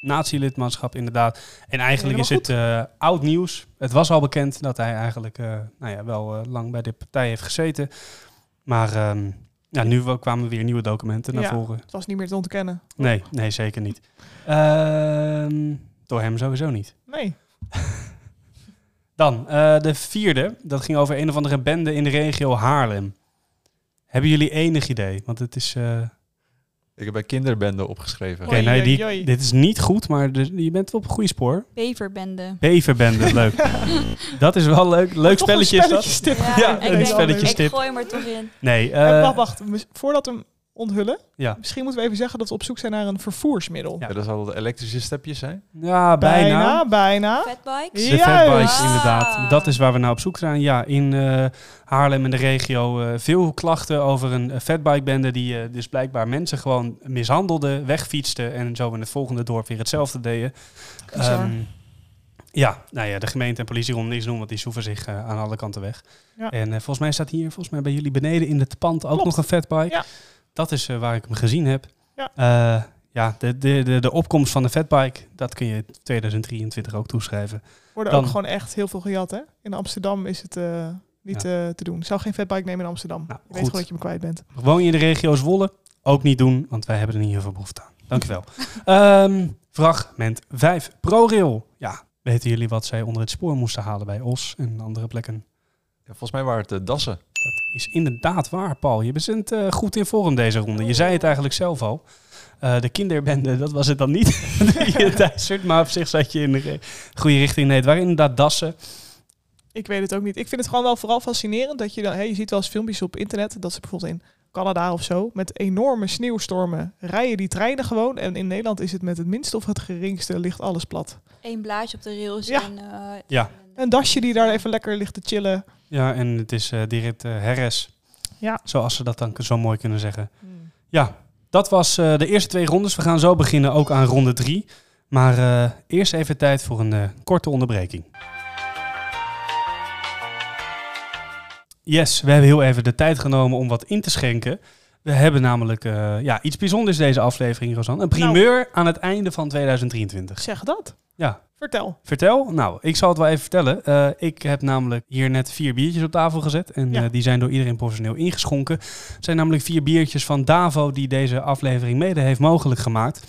A: nazi-lidmaatschap inderdaad. En eigenlijk is
B: Helemaal
A: het eh, oud nieuws. Het was al bekend dat hij eigenlijk eh, nou ja, wel eh, lang bij de partij heeft gezeten. Maar ehm, ja, nu wel- kwamen weer nieuwe documenten naar
B: Ja.
A: voren.
B: Het was niet meer te ontkennen.
A: Nee, nee, zeker niet. Ehm, door hem sowieso niet.
B: Nee.
A: Dan, eh, de vierde. Dat ging over een of andere bende in de regio Haarlem. Hebben jullie enig idee? Want het is... eh,
E: Ik heb bij kinderbende opgeschreven.
A: Oké,
B: Oei,
A: nee,
B: oei,
A: die-
B: oei.
A: dit is niet goed, maar de- je bent wel op een goede spoor.
C: Beverbende.
A: Beverbende, leuk. Dat is wel leuk. Leuk
B: Toch een
A: spelletje is dat.
B: spelletjestip.
A: Ja,
C: ik
A: een
C: denk-
A: spelletjestip.
C: Ik gooi hem er toch in.
A: Nee, eh,
B: Eh, wacht, wacht. Mis- Voordat we hem onthullen,
A: Ja.
B: misschien moeten we even zeggen dat we op zoek zijn naar een vervoersmiddel.
A: Ja.
E: Ja, dat zal de elektrische stepjes zijn.
A: ja, bijna.
B: bijna. bijna.
C: Fatbikes.
A: De
B: Juist.
A: fatbikes,
C: Ah.
A: inderdaad. Dat is waar we naar op zoek zijn. Ja, in eh, Haarlem en de regio eh, veel klachten over een eh, fatbikebende die eh, dus blijkbaar mensen gewoon mishandelde, wegfietste en zo in het volgende dorp weer hetzelfde deden.
B: Bizar.
A: Ehm, ja, nou ja, de gemeente en politie om niks doen, want die soeven zich eh, aan alle kanten weg.
B: Ja.
A: En eh, volgens mij staat hier, volgens mij bij jullie beneden in het pand ook
B: Klopt.
A: nog een fatbike.
B: Ja.
A: Dat is eh, waar ik hem gezien heb.
B: Ja.
A: Eh, ja, de, de, de, de opkomst van de fatbike, dat kun je 2023 ook toeschrijven.
B: Worden
A: Dan-
B: ook gewoon echt heel veel gejat, hè? In Amsterdam is het eh, niet eh, te doen. Ik zou geen fatbike nemen in Amsterdam.
A: Nou,
B: je
A: goed.
B: weet gewoon dat je me kwijt bent.
A: Woon je in de regio Zwolle? Ook niet doen, want wij hebben er niet heel veel behoefte aan. Dankjewel. Ehm fragment 5. ProRail. Ja, weten jullie wat zij onder het spoor moesten halen bij Os en andere plekken?
E: Ja, volgens mij waren het eh, dassen.
A: Dat is inderdaad waar, Paul. Je bent eh, goed in vorm deze ronde. Je zei het eigenlijk zelf al. Eh, de kinderbende, dat was het dan niet. die je duistert, maar op zich zat je in de re- goede richting. Nee, het waren inderdaad dassen.
B: Ik weet het ook niet. Ik vind het gewoon wel vooral fascinerend dat je dan... Hey, je ziet wel eens filmpjes op internet dat ze bijvoorbeeld in Canada of zo... met enorme sneeuwstormen rijden die treinen gewoon. En in Nederland is het met het minste of het geringste ligt alles plat.
C: Eén blaadje op de rails.
B: Ja.
C: En, eh,
A: Ja.
B: Een dasje die daar even lekker ligt te chillen.
A: Ja, en het is eh, direct eh herres.
B: Ja.
A: Zoals ze dat dan k- zo mooi kunnen zeggen. Ja, dat was eh, de eerste twee rondes. We gaan zo beginnen ook aan ronde drie. Maar eh, eerst even tijd voor een eh, korte onderbreking. Yes, we hebben heel even de tijd genomen om wat in te schenken. We hebben namelijk eh, ja, iets bijzonders deze aflevering, Rosanne. Een primeur aan het einde van 2023.
B: Zeg dat.
A: Ja.
B: Vertel.
A: Vertel. Nou, ik zal het wel even vertellen. Eh, ik heb namelijk hier net vier biertjes op tafel gezet. En
B: Ja.
A: eh, die zijn door iedereen personeel ingeschonken. Het zijn namelijk vier biertjes van Davo die deze aflevering mede heeft mogelijk gemaakt.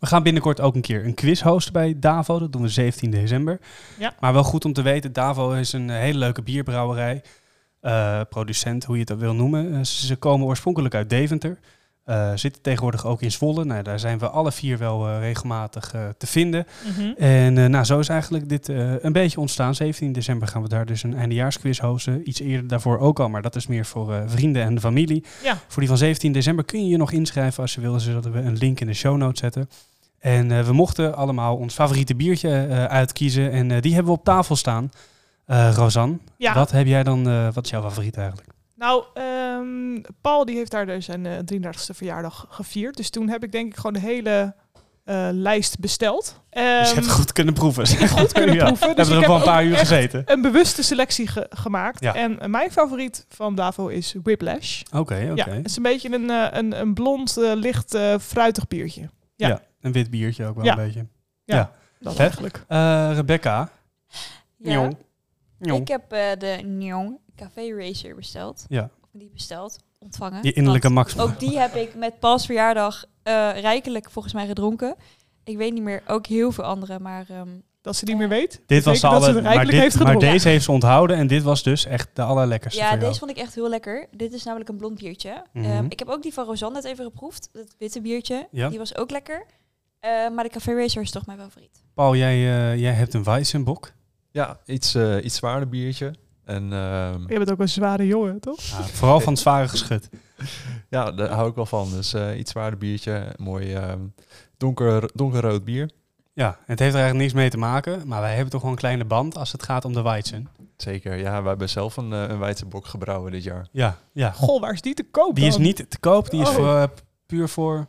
A: We gaan binnenkort ook een keer een quiz hosten bij Davo. Dat doen we 17 december.
B: Ja.
A: Maar wel goed om te weten, Davo is een hele leuke bierbrouwerij. Eh, producent, hoe je het dat wil noemen. Eh, ze komen oorspronkelijk uit Deventer. Eh, zitten tegenwoordig ook in Zwolle. Nou, daar zijn we alle vier wel eh, regelmatig eh, te vinden.
B: Mhm.
A: En eh, nou, zo is eigenlijk dit eh, een beetje ontstaan. 17 december gaan we daar dus een eindejaarsquiz hosten. Iets eerder daarvoor ook al, maar dat is meer voor eh, vrienden en de familie.
B: Ja.
A: Voor die van 17 december kun je je nog inschrijven als je wil. Zullen we een link in de show notes zetten. En eh, we mochten allemaal ons favoriete biertje eh, uitkiezen. En eh, die hebben we op tafel staan. Eh Rosanne,
B: Ja.
A: wat heb jij dan? eh, wat is jouw favoriet eigenlijk?
B: Nou, ehm, Paul die heeft daar dus zijn eh, 33ste verjaardag gevierd. Dus toen heb ik denk ik gewoon de hele eh, lijst besteld.
A: dus je hebt
B: Ehm,
A: goed kunnen proeven. zeg maar.
B: goed kunnen proeven,
A: We
B: dus
A: hebben er
B: ik
A: wel een
B: heb
A: paar
B: ook
A: uur
B: echt-
A: gezeten. Oké,
B: een bewuste selectie ge- gemaakt.
A: Ja.
B: En eh, mijn favoriet van Davo is Whiplash.
A: oké.
B: Ja, het is een beetje een, eh, een, een blond, eh, licht, eh, fruitig biertje. ja.
A: Een wit biertje ook wel
B: Ja.
A: een beetje.
B: Dat
A: Hè?
B: eigenlijk.
A: Eh, Rebecca.
C: ja.
A: Jong. Jong.
C: Ik heb eh, de Njong Café Racer besteld.
A: Ja.
C: Of die besteld, ontvangen.
A: Die innerlijke
C: Want
A: Max.
C: Ook die heb ik met Paul's verjaardag eh, rijkelijk volgens mij gedronken. Ik weet niet meer, ook heel veel andere, maar... ehm,
B: Dat ze niet meer weet.
A: Dit
B: Betekent dat
A: was de
B: ze
A: alle,
B: het rijkelijk
A: maar, dit,
B: heeft
A: maar
B: gedronken.
A: deze heeft ze onthouden en dit was dus echt de allerlekkerste
C: ja,
A: voor jou.
C: deze vond ik echt heel lekker. Dit is namelijk een blond biertje.
A: Mhm.
C: Ehm, ik heb ook die van Rosanne net even geproefd, dat witte biertje.
A: Ja.
C: Die was ook lekker. Eh, maar de Café Racer is toch mijn favoriet.
A: Paul, jij, eh, jij hebt een Weissenbok.
E: Ja, iets, eh, iets zwaarder biertje. En ehm,
B: Je bent ook een zware jongen, toch?
A: Nou, vooral van het zware geschut.
E: ja, daar hou ik wel van. Dus eh, iets zwaarder biertje. Mooi ehm, donker, donkerrood bier.
A: Ja, het heeft er eigenlijk niks mee te maken, maar wij hebben toch wel een kleine band als het gaat om de Weizen.
E: Zeker, ja, we hebben zelf een, eh, een Weizenbok gebrouwen dit jaar.
A: Ja, ja.
B: Goh, waar is die te koop
A: Die is
B: dan?
A: niet te koop, die is
B: Oh.
A: voor, eh, puur voor...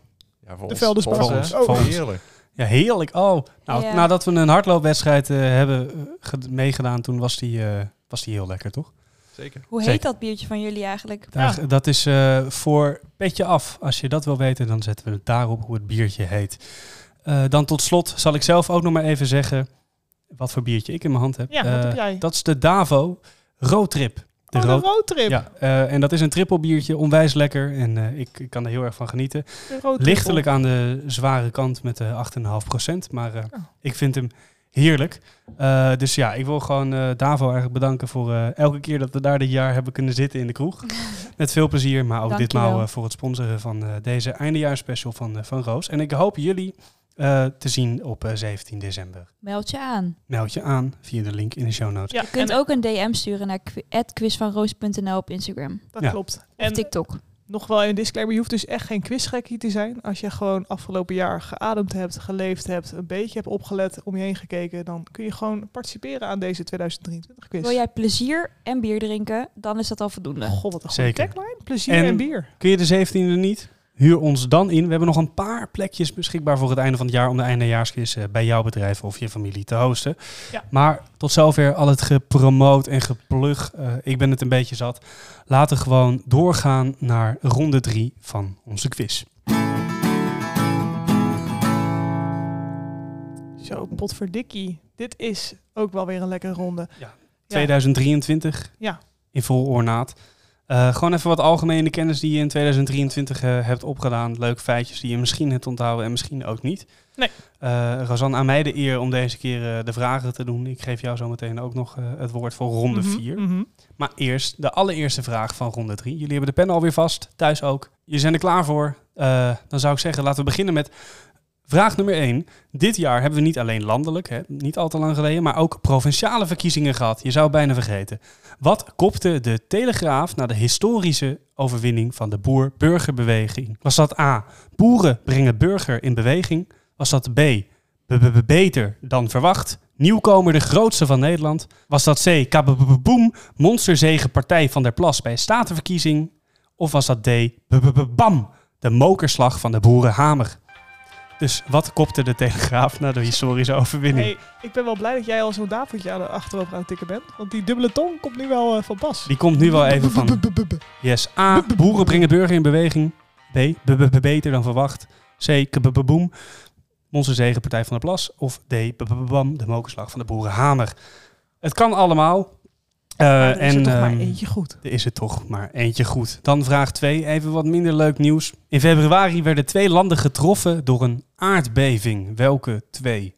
E: Ja, voor
B: De
E: ons-
B: Veldersbak.
E: voor ons,
A: Voor
E: hè?
A: ons, voor ons.
E: Oh, Heerlijk.
A: Ja, heerlijk. Oh, nou,
C: Ja.
A: nadat we een hardloopwedstrijd eh, hebben eh, ged- meegedaan, toen was die, eh, was die heel lekker, toch?
E: Zeker.
C: Hoe heet
A: Zeker.
C: dat biertje van jullie eigenlijk?
A: Daar, Dat is eh, voor petje af. Als je dat wil weten, dan zetten we het daarop hoe het biertje heet. Eh, dan tot slot zal ik zelf ook nog maar even zeggen wat voor biertje ik in mijn hand heb.
B: Ja, wat
A: Eh,
B: heb jij?
A: Dat is de Davo Roadtrip.
B: Oh, de
A: rood-
B: roadtrip.
A: Ja, eh, en dat is een trippelbiertje, onwijs lekker. En eh, ik, ik kan er heel erg van genieten.
B: De
C: Oh,
B: roadtrip.
A: Lichtelijk aan de zware kant met de 8,5%. Maar eh,
B: Oh.
A: ik vind hem heerlijk. Eh, dus ja, ik wil gewoon eh, Davo eigenlijk bedanken voor eh, elke keer dat we daar dit jaar hebben kunnen zitten in de kroeg. Met veel plezier, maar ook
C: Dank je
A: ditmaal
C: wel.
A: eh, voor het sponsoren van eh, deze eindejaarsspecial van, eh, van Roos. En ik hoop jullie eh, te zien op eh, 17 december.
C: Meld je aan.
A: Meld je aan via de link in de show notes.
B: Ja,
C: Je kunt
B: en-
C: ook een DM sturen naar qu- quizvanroos.nl op Instagram.
B: Dat
A: Ja.
B: klopt.
C: Of
B: En
C: TikTok.
B: nog wel een disclaimer, je hoeft dus echt geen quizgekkie te zijn. Als je gewoon afgelopen jaar geademd hebt, geleefd hebt, een beetje hebt opgelet, om je heen gekeken, dan kun je gewoon participeren aan deze 2023 quiz. Oh,
C: Wil jij plezier en bier drinken, dan is dat al voldoende.
A: Oh.
B: God, wat een goede
A: Zeker.
B: tagline. Plezier en,
A: En-
B: bier.
A: Kun je de 17e niet? Huur ons dan in. We hebben nog een paar plekjes beschikbaar voor het einde van het jaar om de eindejaarsquiz eh, bij jouw bedrijf of je familie te hosten.
B: Ja.
A: Maar tot zover al het gepromoot en geplug. Eh, ik ben het een beetje zat. Laten we gewoon doorgaan naar ronde 3 van onze quiz.
B: Zo, potverdikkie. Dit is ook wel weer een lekkere ronde.
A: 2023
B: Ja.
A: in vol ornaat. Eh, gewoon even wat algemene kennis die je in 2023 eh, hebt opgedaan. Leuke feitjes die je misschien hebt onthouden en misschien ook niet.
B: Nee.
A: Eh, Razan, aan mij de eer om deze keer eh, de vragen te doen. Ik geef jou zo meteen ook nog eh, het woord voor ronde
B: Mhm,
A: 4.
B: mhm.
A: Maar eerst de allereerste vraag van ronde 3. Jullie hebben de pen alweer vast, thuis ook. Jullie zijn er klaar voor. Eh, dan zou ik zeggen, laten we beginnen met vraag nummer 1. Dit jaar hebben we niet alleen landelijk, hè, niet al te lang geleden, maar ook provinciale verkiezingen gehad. Je zou het bijna vergeten. Wat kopte de Telegraaf na de historische overwinning van de boer-burgerbeweging? Was dat A. Boeren brengen burger in beweging? Was dat B. be- be- be- Beter dan verwacht? Nieuwkomer de grootste van Nederland? Was dat C. Kababoom? Monsterzegen Partij van der Plas bij statenverkiezing? Of was dat D, bam, de mokerslag van de boerenhamer? Dus wat kopte de Telegraaf na de historische overwinning?
B: Hey, ik ben wel blij dat jij al zo'n davertje aan de achterover aan het tikken bent. Want die dubbele tong komt nu wel eh, van pas.
A: Die komt nu wel even van... Yes, A, boeren brengen burger in beweging. B, beter dan verwacht. C, kababoom, Monsterzegen Partij van der Plas. Of D, bam, de mokerslag van de boerenhamer? Het kan allemaal. Eh,
B: en, is er toch maar
A: ehm,
B: eentje goed.
A: Er is er toch maar eentje goed. Dan vraag 2, even wat minder leuk nieuws. In februari werden twee landen getroffen door een aardbeving. Welke twee?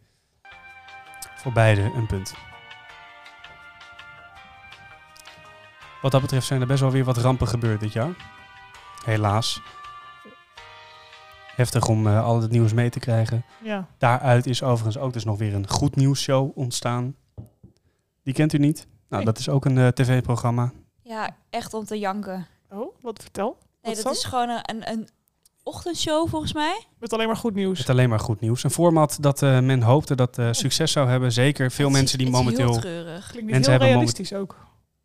A: Voor beide een punt. Wat dat betreft zijn er best wel weer wat rampen gebeurd dit jaar. Helaas. Heftig om eh, al het nieuws mee te krijgen.
B: Ja.
A: Daaruit is overigens ook dus nog weer een goed nieuws show ontstaan. Die kent u niet? Nou,
B: Nee.
A: dat is ook een eh, tv-programma.
C: Ja, echt om te janken.
B: Oh, wat vertel? Wat
C: Nee, dat
B: dan?
C: is gewoon een, een, een ochtendshow volgens mij.
B: Met alleen maar goed nieuws.
A: Het alleen maar goed nieuws. Een format dat eh, men hoopte dat eh, succes zou hebben. Zeker veel
C: Het is-
A: mensen die
C: het is
A: momenteel.
C: Heel treurig.
B: Klinkt niet
A: Mensen
B: heel
A: hebben
B: realistisch ook.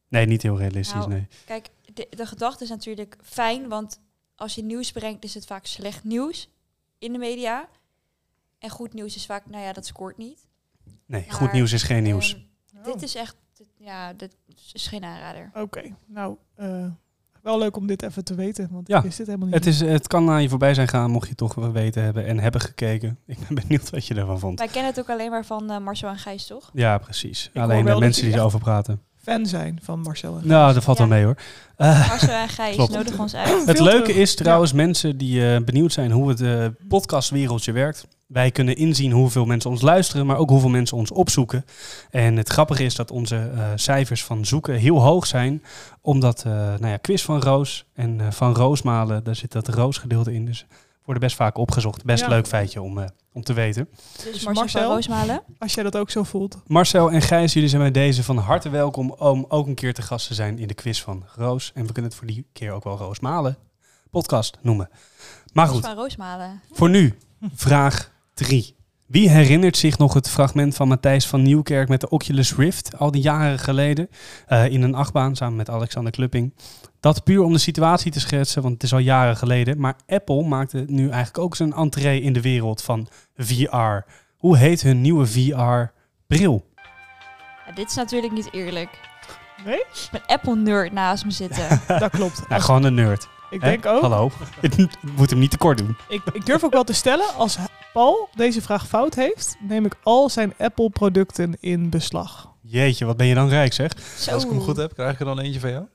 A: Nee, niet heel realistisch.
C: Nou,
A: nee.
C: Kijk, de, de gedachte is natuurlijk fijn, want als je nieuws brengt, is het vaak slecht nieuws in de media. En goed nieuws is vaak, nou ja, dat scoort niet.
A: nee
C: maar, eh,
A: goed nieuws is geen nieuws.
C: En
B: Oh.
C: Dit is echt, dit- ja, dit is geen aanrader.
B: Oké, nou, eh, wel leuk om dit even te weten, want
A: Ja,
B: ik wist dit helemaal niet.
A: het, is, het kan aan je voorbij zijn gaan, mocht je het toch wel weten hebben en hebben gekeken. Ik ben benieuwd wat je ervan vond.
C: Wij kennen het ook alleen maar van eh, Marcel en Gijs, toch?
A: Ja, precies.
B: hoor
A: Alleen
B: wel
A: de
B: dat
A: mensen
B: je
A: die
B: echt-
A: erover praten.
B: Fan zijn van Marcel. en-
A: Nou, dat valt
C: Ja.
A: wel mee hoor.
C: Marcel en Gijs,
A: Klopt.
C: nodig ons uit.
A: Het
B: Veel
A: leuke
B: terug.
A: is trouwens, mensen die eh, benieuwd zijn hoe het eh, podcastwereldje werkt. Wij kunnen inzien hoeveel mensen ons luisteren, maar ook hoeveel mensen ons opzoeken. En het grappige is dat onze eh, cijfers van zoeken heel hoog zijn. Omdat, eh, nou ja, Quiz van Roos en eh, Van Roosmalen, daar zit dat Roosgedeelte in. Dus worden best vaak opgezocht. Best
B: Ja.
A: leuk feitje om, eh, om te weten.
C: Dus
B: Marcel?
C: Marcel van Roosmalen.
B: Als jij dat ook zo voelt.
A: Marcel en Gijs, jullie zijn bij deze van harte welkom om ook een keer te gast te zijn in de quiz van Roos. En we kunnen het voor die keer ook wel Roosmalen podcast noemen. Maar
C: Marcel
A: goed.
C: van Roosmalen.
A: Voor nu, vraag 3. Wie herinnert zich nog het fragment van Matthijs van Nieuwkerk met de Oculus Rift al die jaren geleden eh, in een achtbaan samen met Alexander Klupping? Dat puur om de situatie te schetsen, want het is al jaren geleden. Maar Apple maakte nu eigenlijk ook zijn entree in de wereld van VR. Hoe heet hun nieuwe VR-bril?
C: Ja, dit is natuurlijk niet eerlijk.
B: Nee?
C: Mijn Apple-nerd naast me zitten.
B: Dat klopt.
A: Nou,
B: Als-
A: gewoon een nerd.
B: ik
A: hè?
B: denk ook.
A: Hallo. Ik moet hem niet tekort doen.
B: Ik, ik durf ook wel te stellen, als Paul deze vraag fout heeft, neem ik al zijn Apple-producten in beslag.
A: Jeetje, wat ben je dan rijk, zeg?
C: Zo.
E: Als ik hem goed heb, krijg ik er dan eentje van jou.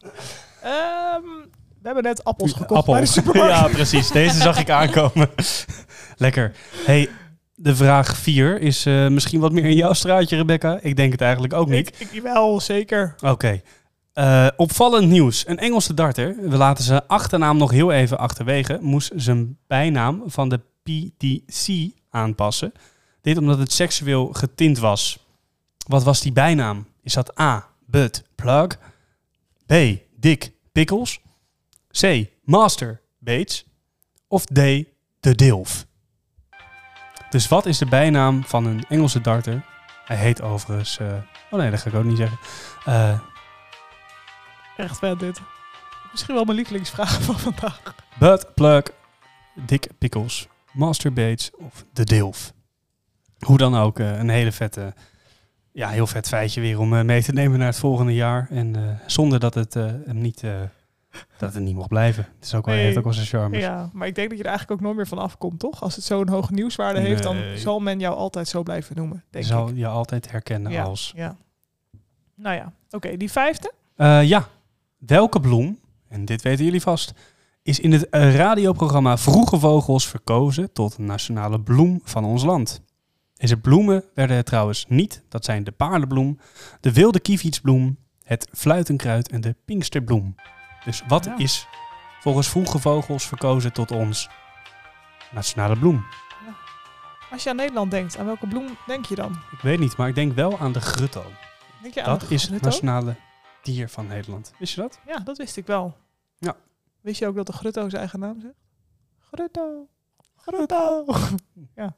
B: Ehm, we hebben net appels gekocht
A: Appel.
B: bij de supermarkt.
A: ja, precies. Deze zag ik aankomen. Lekker. Hey, de vraag 4 is eh, misschien wat meer in jouw straatje, Rebecca. Ik denk het eigenlijk ook niet.
B: Ik, ik wel, zeker.
A: Oké. Eh, opvallend nieuws. Een Engelse darter, we laten zijn achternaam nog heel even achterwege, moest zijn bijnaam van de PTC aanpassen. Dit omdat het seksueel getint was. Wat was die bijnaam? Is dat A, Bud Plug? B, Dick Pickles? C, Master Bates? Of D, De Dilf? Dus wat is de bijnaam van een Engelse darter? Hij heet overigens... eh, oh nee, dat ga ik ook niet zeggen. Eh,
B: Echt vet dit. Misschien wel mijn lievelingsvraag van vandaag.
A: Bud Plug, Dick Pickles, Master Bates of De Dilf. Hoe dan ook, eh, een hele vette, ja, heel vet feitje weer om eh, mee te nemen naar het volgende jaar. En eh, zonder dat het eh, hem niet, eh, dat het niet mocht blijven. Het is ook wel,
B: Nee.
A: heeft ook wel zijn charme.
B: Ja, maar ik denk dat je er eigenlijk ook nooit meer van afkomt, toch? Als het zo'n hoge nieuwswaarde heeft, dan
A: Nee.
B: zal men jou altijd zo blijven noemen, denk
A: zal
B: ik.
A: je altijd herkennen als.
B: Ja. Nou ja, oké, die vijfde.
A: Eh, ja, welke bloem, en dit weten jullie vast, is in het eh, radioprogramma Vroege Vogels verkozen tot nationale bloem van ons land? Deze bloemen werden het trouwens niet. Dat zijn de paardenbloem, de wilde kievitsbloem, het fluitenkruid en de pinksterbloem. Dus wat
B: Ja.
A: is volgens Vroege Vogels verkozen tot ons nationale bloem?
B: Als je aan Nederland denkt, aan welke bloem denk je dan?
A: Ik weet niet, maar ik denk wel aan de grutto.
B: Denk je aan
A: dat is het
B: grutto?
A: nationale dier van Nederland. Wist je dat?
B: Ja, dat wist ik wel.
A: Ja.
B: Wist je ook dat de grutto zijn eigen naam zegt? Grutto. Grutto. ja.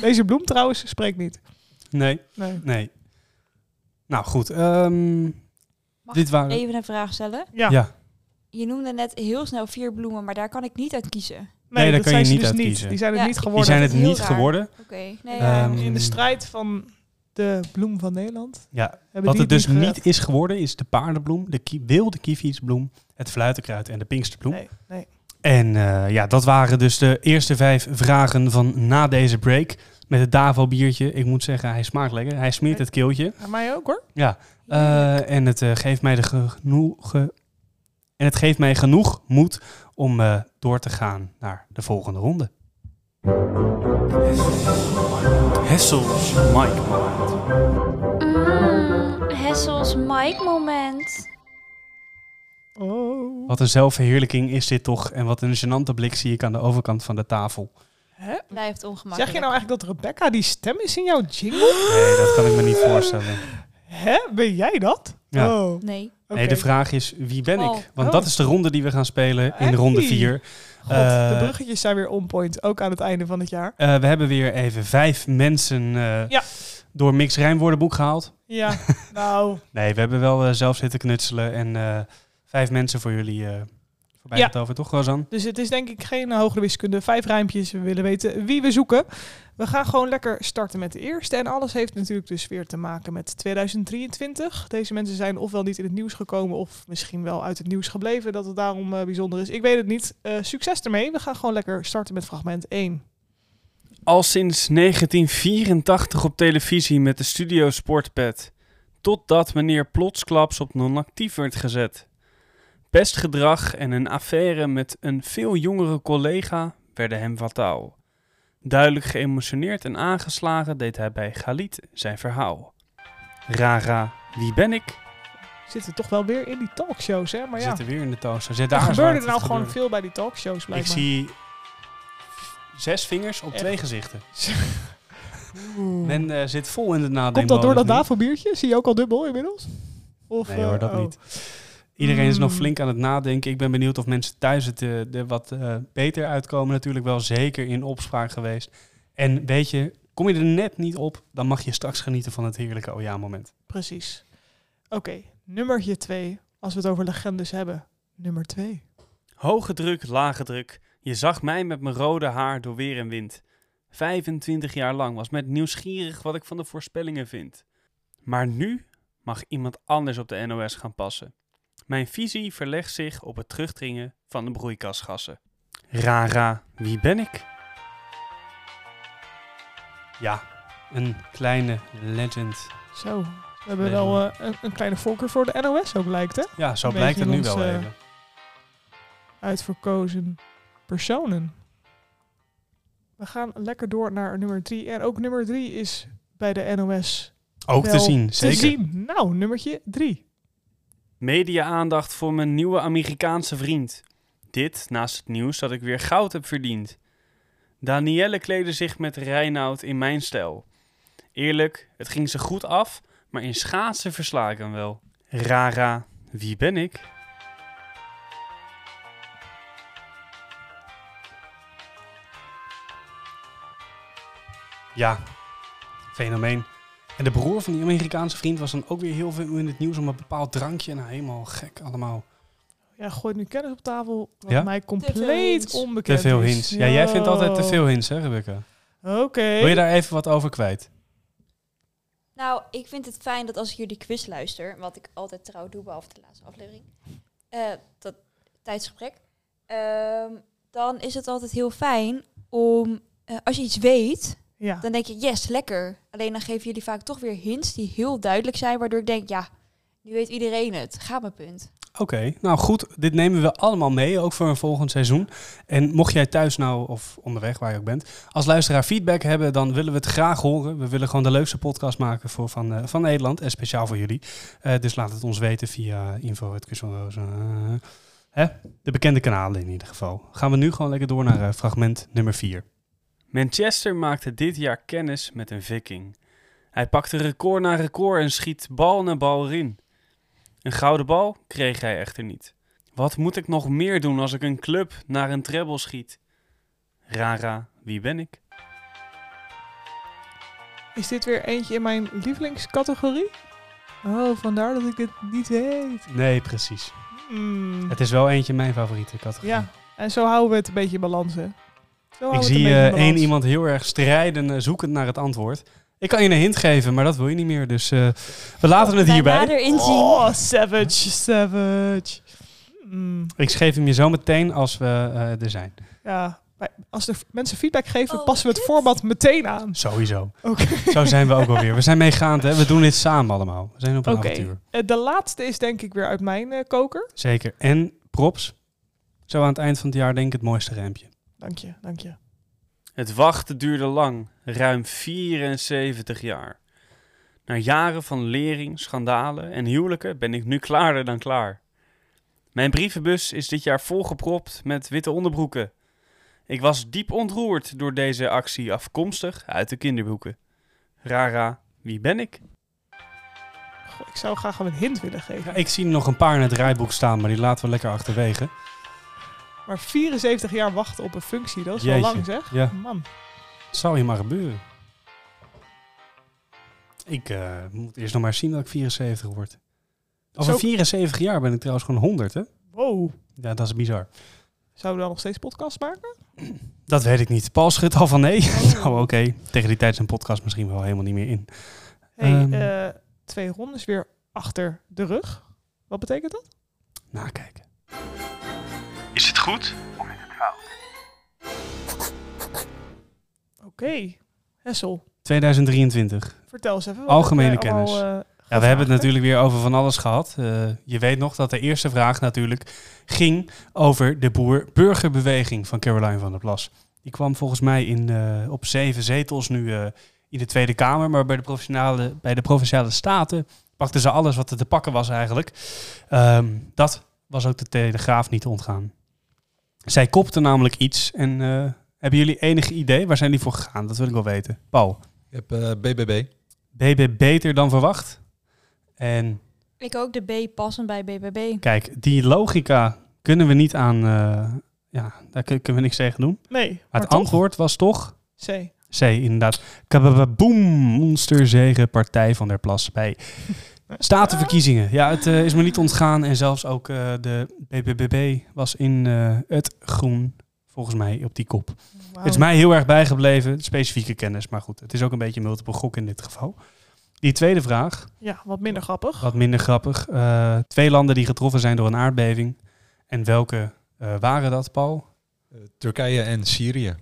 B: Deze bloem trouwens spreekt niet.
A: Nee.
B: Nee.
A: Nee. Nou goed, ehm,
C: Mag
A: dit waren.
C: Even een vraag stellen.
B: Ja.
A: Ja.
C: Je noemde net heel snel vier bloemen, maar daar kan ik niet uit kiezen.
B: Nee,
A: daar
B: dat
A: kan
B: zijn
A: je
B: ze
A: niet
B: dus
A: uit
B: niet.
A: kiezen.
B: Die zijn het
C: Ja.
B: niet
A: die
B: geworden.
A: zijn het
C: heel
A: niet
C: raar.
A: geworden.
C: Oké. Nee,
B: Ja,
C: ja.
A: Ehm,
B: in de strijd van de bloem van Nederland
A: Ja.
B: hebben
A: Wat
B: die
A: het dus
B: gered.
A: niet is geworden is de paardenbloem, de ki- wilde kievitsbloem, het fluitenkruid en de pinksterbloem.
B: Nee, nee.
A: En eh, ja, dat waren dus de eerste vijf vragen van na deze break. Met het Davo biertje. Ik moet zeggen, hij smaakt lekker. Hij smeert het keeltje.
B: Aan mij ook hoor.
A: Ja. Eh, en het eh, geeft mij de genoegen. En het geeft mij genoeg moed om eh, door te gaan naar de volgende ronde.
D: Hessels Mike Moment.
C: Mm, Hessels Mike moment.
B: Oh.
A: Wat een zelfverheerlijking is dit toch? En wat een gênante blik zie ik aan de overkant van de tafel.
B: Hè?
C: Blijft ongemakkelijk.
B: Zeg je nou eigenlijk dat Rebecca die stem is in jouw jingle?
A: Nee, dat kan ik me niet voorstellen.
B: Hè? Ben jij dat?
A: Ja.
B: Oh.
C: Nee.
B: oké.
A: Nee, de vraag is, wie ben
C: Oh.
A: ik? Want
B: Oh.
A: dat is de ronde die we gaan spelen in
B: Hey.
A: ronde 4.
B: God, de
A: eh,
B: bruggetjes zijn weer on point, ook aan het einde van het jaar.
A: we hebben weer even vijf mensen eh,
B: Ja.
A: door Mix Rijnwoordenboek gehaald.
B: Ja, nou,
A: Nee, we hebben wel eh, zelf zitten knutselen en eh, vijf mensen voor jullie eh voorbij
B: Ja.
A: het over, toch Rosan?
B: dus het is denk ik geen hogere wiskunde. Vijf rijmpjes, we willen weten wie we zoeken. We gaan gewoon lekker starten met de eerste. En alles heeft natuurlijk dus weer te maken met 2023. Deze mensen zijn ofwel niet in het nieuws gekomen... of misschien wel uit het nieuws gebleven dat het daarom eh, bijzonder is. Ik weet het niet. Eh, succes ermee. We gaan gewoon lekker starten met fragment 1.
D: Al sinds 1984 op televisie met de Studio Sportpet. Totdat meneer plotsklaps op non-actief werd gezet. Pestgedrag en een affaire met een veel jongere collega werden hem fataal. Duidelijk geëmotioneerd en aangeslagen deed hij bij Galit zijn verhaal. Rara, wie ben ik?
B: Zitten toch wel weer in die talkshows, hè? Maar
A: We
B: Oh ja,
A: zitten weer in de toaster. Zet
B: er
A: daar eens waar
B: gebeurde
A: het
B: nou
A: gaat
B: gewoon
A: gebeuren.
B: veel bij die talkshows,
A: Ik
B: blijkbaar.
A: zie zes vingers op
B: Echt?
A: twee gezichten.
B: Oeh.
A: Men eh, zit vol in het nadenken.
B: Komt dat door dat Davo-biertje? Zie je ook al dubbel inmiddels? Of,
A: Nee hoor,
B: eh,
A: dat
B: oh.
A: niet. Iedereen is nog
B: Mm.
A: flink aan het nadenken. Ik ben benieuwd of mensen thuis het eh, er wat eh, beter uitkomen. Natuurlijk wel zeker in opspraak geweest. En weet je, Kom je er net niet op, dan mag je straks genieten van het heerlijke oh ja moment.
B: Precies. Oké, nummertje twee. Als we het over legendes hebben. Nummer twee.
D: Hoge druk, lage druk. Je zag mij met mijn rode haar door weer en wind. 25 jaar lang was met nieuwsgierig wat ik van de voorspellingen vind. Maar nu mag iemand anders op de NOS gaan passen. Mijn visie verlegt zich op het terugdringen van de broeikasgassen. Rara, wie ben ik?
A: Ja, een kleine legend.
B: Zo. We hebben wel eh, een, een kleine voorkeur voor de NOS ook lijkt hè.
A: Ja, zo
B: Een
A: blijkt het
B: beetje
A: nu
B: ons,
A: wel
B: eh,
A: even.
B: Uitverkozen personen. We gaan lekker door naar nummer drie. En ook nummer drie is bij de NOS
A: Ook te
B: wel
A: zien, zeker.
B: Te zien. Nou, nummertje drie.
D: Media-aandacht voor mijn nieuwe Amerikaanse vriend. Dit naast het nieuws dat ik weer goud heb verdiend. Danielle kleedde zich met Reinoud in mijn stijl. Eerlijk, het ging ze goed af, maar in schaatsen versla ik hem wel. Rara, wie ben ik?
A: Ja, fenomeen. En de broer van die Amerikaanse vriend was dan ook weer heel veel in het nieuws om een bepaald drankje. Nou, helemaal gek allemaal.
B: Ja, gooit nu kennis op tafel wat
A: Ja?
B: mij
C: Te veel
B: compleet
C: hints.
B: onbekend
A: Te veel
B: is.
A: hints. Ja, jij vindt altijd te
B: Yo.
A: veel hints, hè, Rebecca?
B: Oké.
A: Wil je daar even wat over kwijt?
C: Nou, ik vind het fijn dat als ik jullie quiz luister, wat ik altijd trouw doe, behalve de laatste aflevering, eh, dat tijdsgebrek, ehm, dan is het altijd heel fijn om, eh, als je iets weet,
B: Ja.
C: dan denk je, yes, lekker. Alleen dan geven jullie vaak toch weer hints die heel duidelijk zijn, waardoor ik denk, ja, nu weet iedereen het. Ga mijn punt.
A: Oké, nou goed. Dit nemen we allemaal mee, ook voor een volgend seizoen. En mocht jij thuis nou, of onderweg waar je ook bent, als luisteraar feedback hebben, dan willen we het graag horen. We willen gewoon de leukste podcast maken voor van, eh, van Nederland en speciaal voor jullie. Eh, dus laat het ons weten via info. het kus van Rozen. Eh, hè? De bekende kanalen in ieder geval. Gaan we nu gewoon lekker door naar eh, fragment nummer 4.
D: Manchester maakte dit jaar kennis met een viking. Hij pakte record na record en schiet bal na bal erin. Een gouden bal kreeg hij echter niet. Wat moet ik nog meer doen als ik een club naar een treble schiet? Rara, wie ben ik?
B: Is dit weer eentje in mijn lievelingscategorie? Oh, vandaar dat ik dit niet weet.
A: Nee, precies.
B: Hmm.
A: Het is wel eentje mijn favoriete categorie.
B: Ja, en zo houden we het een beetje in balans, hè? Zo houden
A: Ik
B: we het Oh, een
A: zie
B: beetje in
A: eh, één
B: balans.
A: iemand heel erg strijden, eh, zoekend naar het antwoord. Ik kan je een hint geven, maar dat wil je niet meer. Dus eh, we laten het
C: Bij
A: hierbij.
C: nader inzien.
B: Oh, savage, savage. Hmm,
A: Ik geef hem je zo meteen als we eh, er zijn.
B: Ja, wij- als de f- mensen feedback geven,
C: Oh,
B: passen we het
C: dit?
B: format meteen aan.
A: Sowieso.
B: Oké.
A: Zo zijn we ook alweer. We zijn meegaand, hè. We doen dit samen allemaal. We zijn op een
B: Oké.
A: avontuur.
B: Eh, de laatste is denk ik weer uit mijn eh, koker.
A: Zeker. En props. Zo aan het eind van het jaar denk ik het mooiste rijmpje.
B: Dank je, dank je.
D: Het wachten duurde lang, ruim 74 jaar. Na jaren van lering, schandalen en huwelijken ben ik nu klaarder dan klaar. Mijn brievenbus is dit jaar volgepropt met witte onderbroeken. Ik was diep ontroerd door deze actie afkomstig uit de kinderboeken. Rara, wie ben ik?
B: Goh, ik zou graag een hint willen geven.
A: Ja, ik zie nog een paar in het rijboek staan, maar die laten we lekker achterwege.
B: Maar 74 jaar wachten op een functie, dat is
A: Jeetje.
B: wel lang, zeg.
A: Ja.
B: Man.
A: Het zou je maar gebeuren. Ik eh, moet eerst nog maar zien dat ik 74 word. Over
B: Zo-
A: 74 jaar ben ik trouwens gewoon 100, hè?
B: Wow.
A: Ja, dat is bizar.
B: Zouden we dan nog steeds podcast maken?
A: Dat weet ik niet. Paul schudt al van nee. nou, oké. Tegen die tijd zijn podcast misschien wel helemaal niet meer in.
B: Hey,
A: Ehm.
B: eh, twee rondes weer achter de rug. Wat betekent dat?
A: Nakijken.
D: Is het goed?
B: Oké. Hessel,
A: 2023.
B: vertel eens even. wat
A: Algemene
B: heb jij allemaal,
A: kennis.
B: eh,
A: Ja, we hebben het
B: gevraagd, hè?
A: natuurlijk weer over van alles gehad. Eh, je weet nog dat de eerste vraag natuurlijk ging over de boer-burgerbeweging van Caroline van der Plas. Die kwam volgens mij in, eh, op zeven zetels nu eh, in de Tweede Kamer. Maar bij de, provinciale, bij de Provinciale Staten pakten ze alles wat er te pakken was eigenlijk. Ehm, dat was ook de Telegraaf niet te ontgaan. Zij kopte namelijk iets. En eh, hebben jullie enig idee? Waar zijn die voor gegaan? Dat wil ik wel weten. Paul,
E: Ik heb eh, BBB.
A: BB beter dan verwacht? En
C: Ik ook de B passen bij BBB.
A: Kijk, die logica kunnen we niet aan. eh, ja, daar kun- kunnen we niks tegen doen.
B: Nee,
A: Maar
B: maar
A: het
B: toch?
A: antwoord was toch
B: C.
A: C, inderdaad. Kababoom, monsterzegen Partij van der Plas bij Statenverkiezingen. Ja, het eh, is me niet ontgaan. En zelfs ook eh, de BBBB was in eh, het groen, volgens mij, op die kop.
B: Wauw.
A: Het is mij heel erg bijgebleven, specifieke kennis. Maar goed, het is ook een beetje multiple gok in dit geval. Die tweede vraag,
B: Ja, wat minder grappig.
A: wat minder grappig. Eh, twee landen die getroffen zijn door een aardbeving. En welke eh, waren dat, Paul?
E: Turkije en Syrië.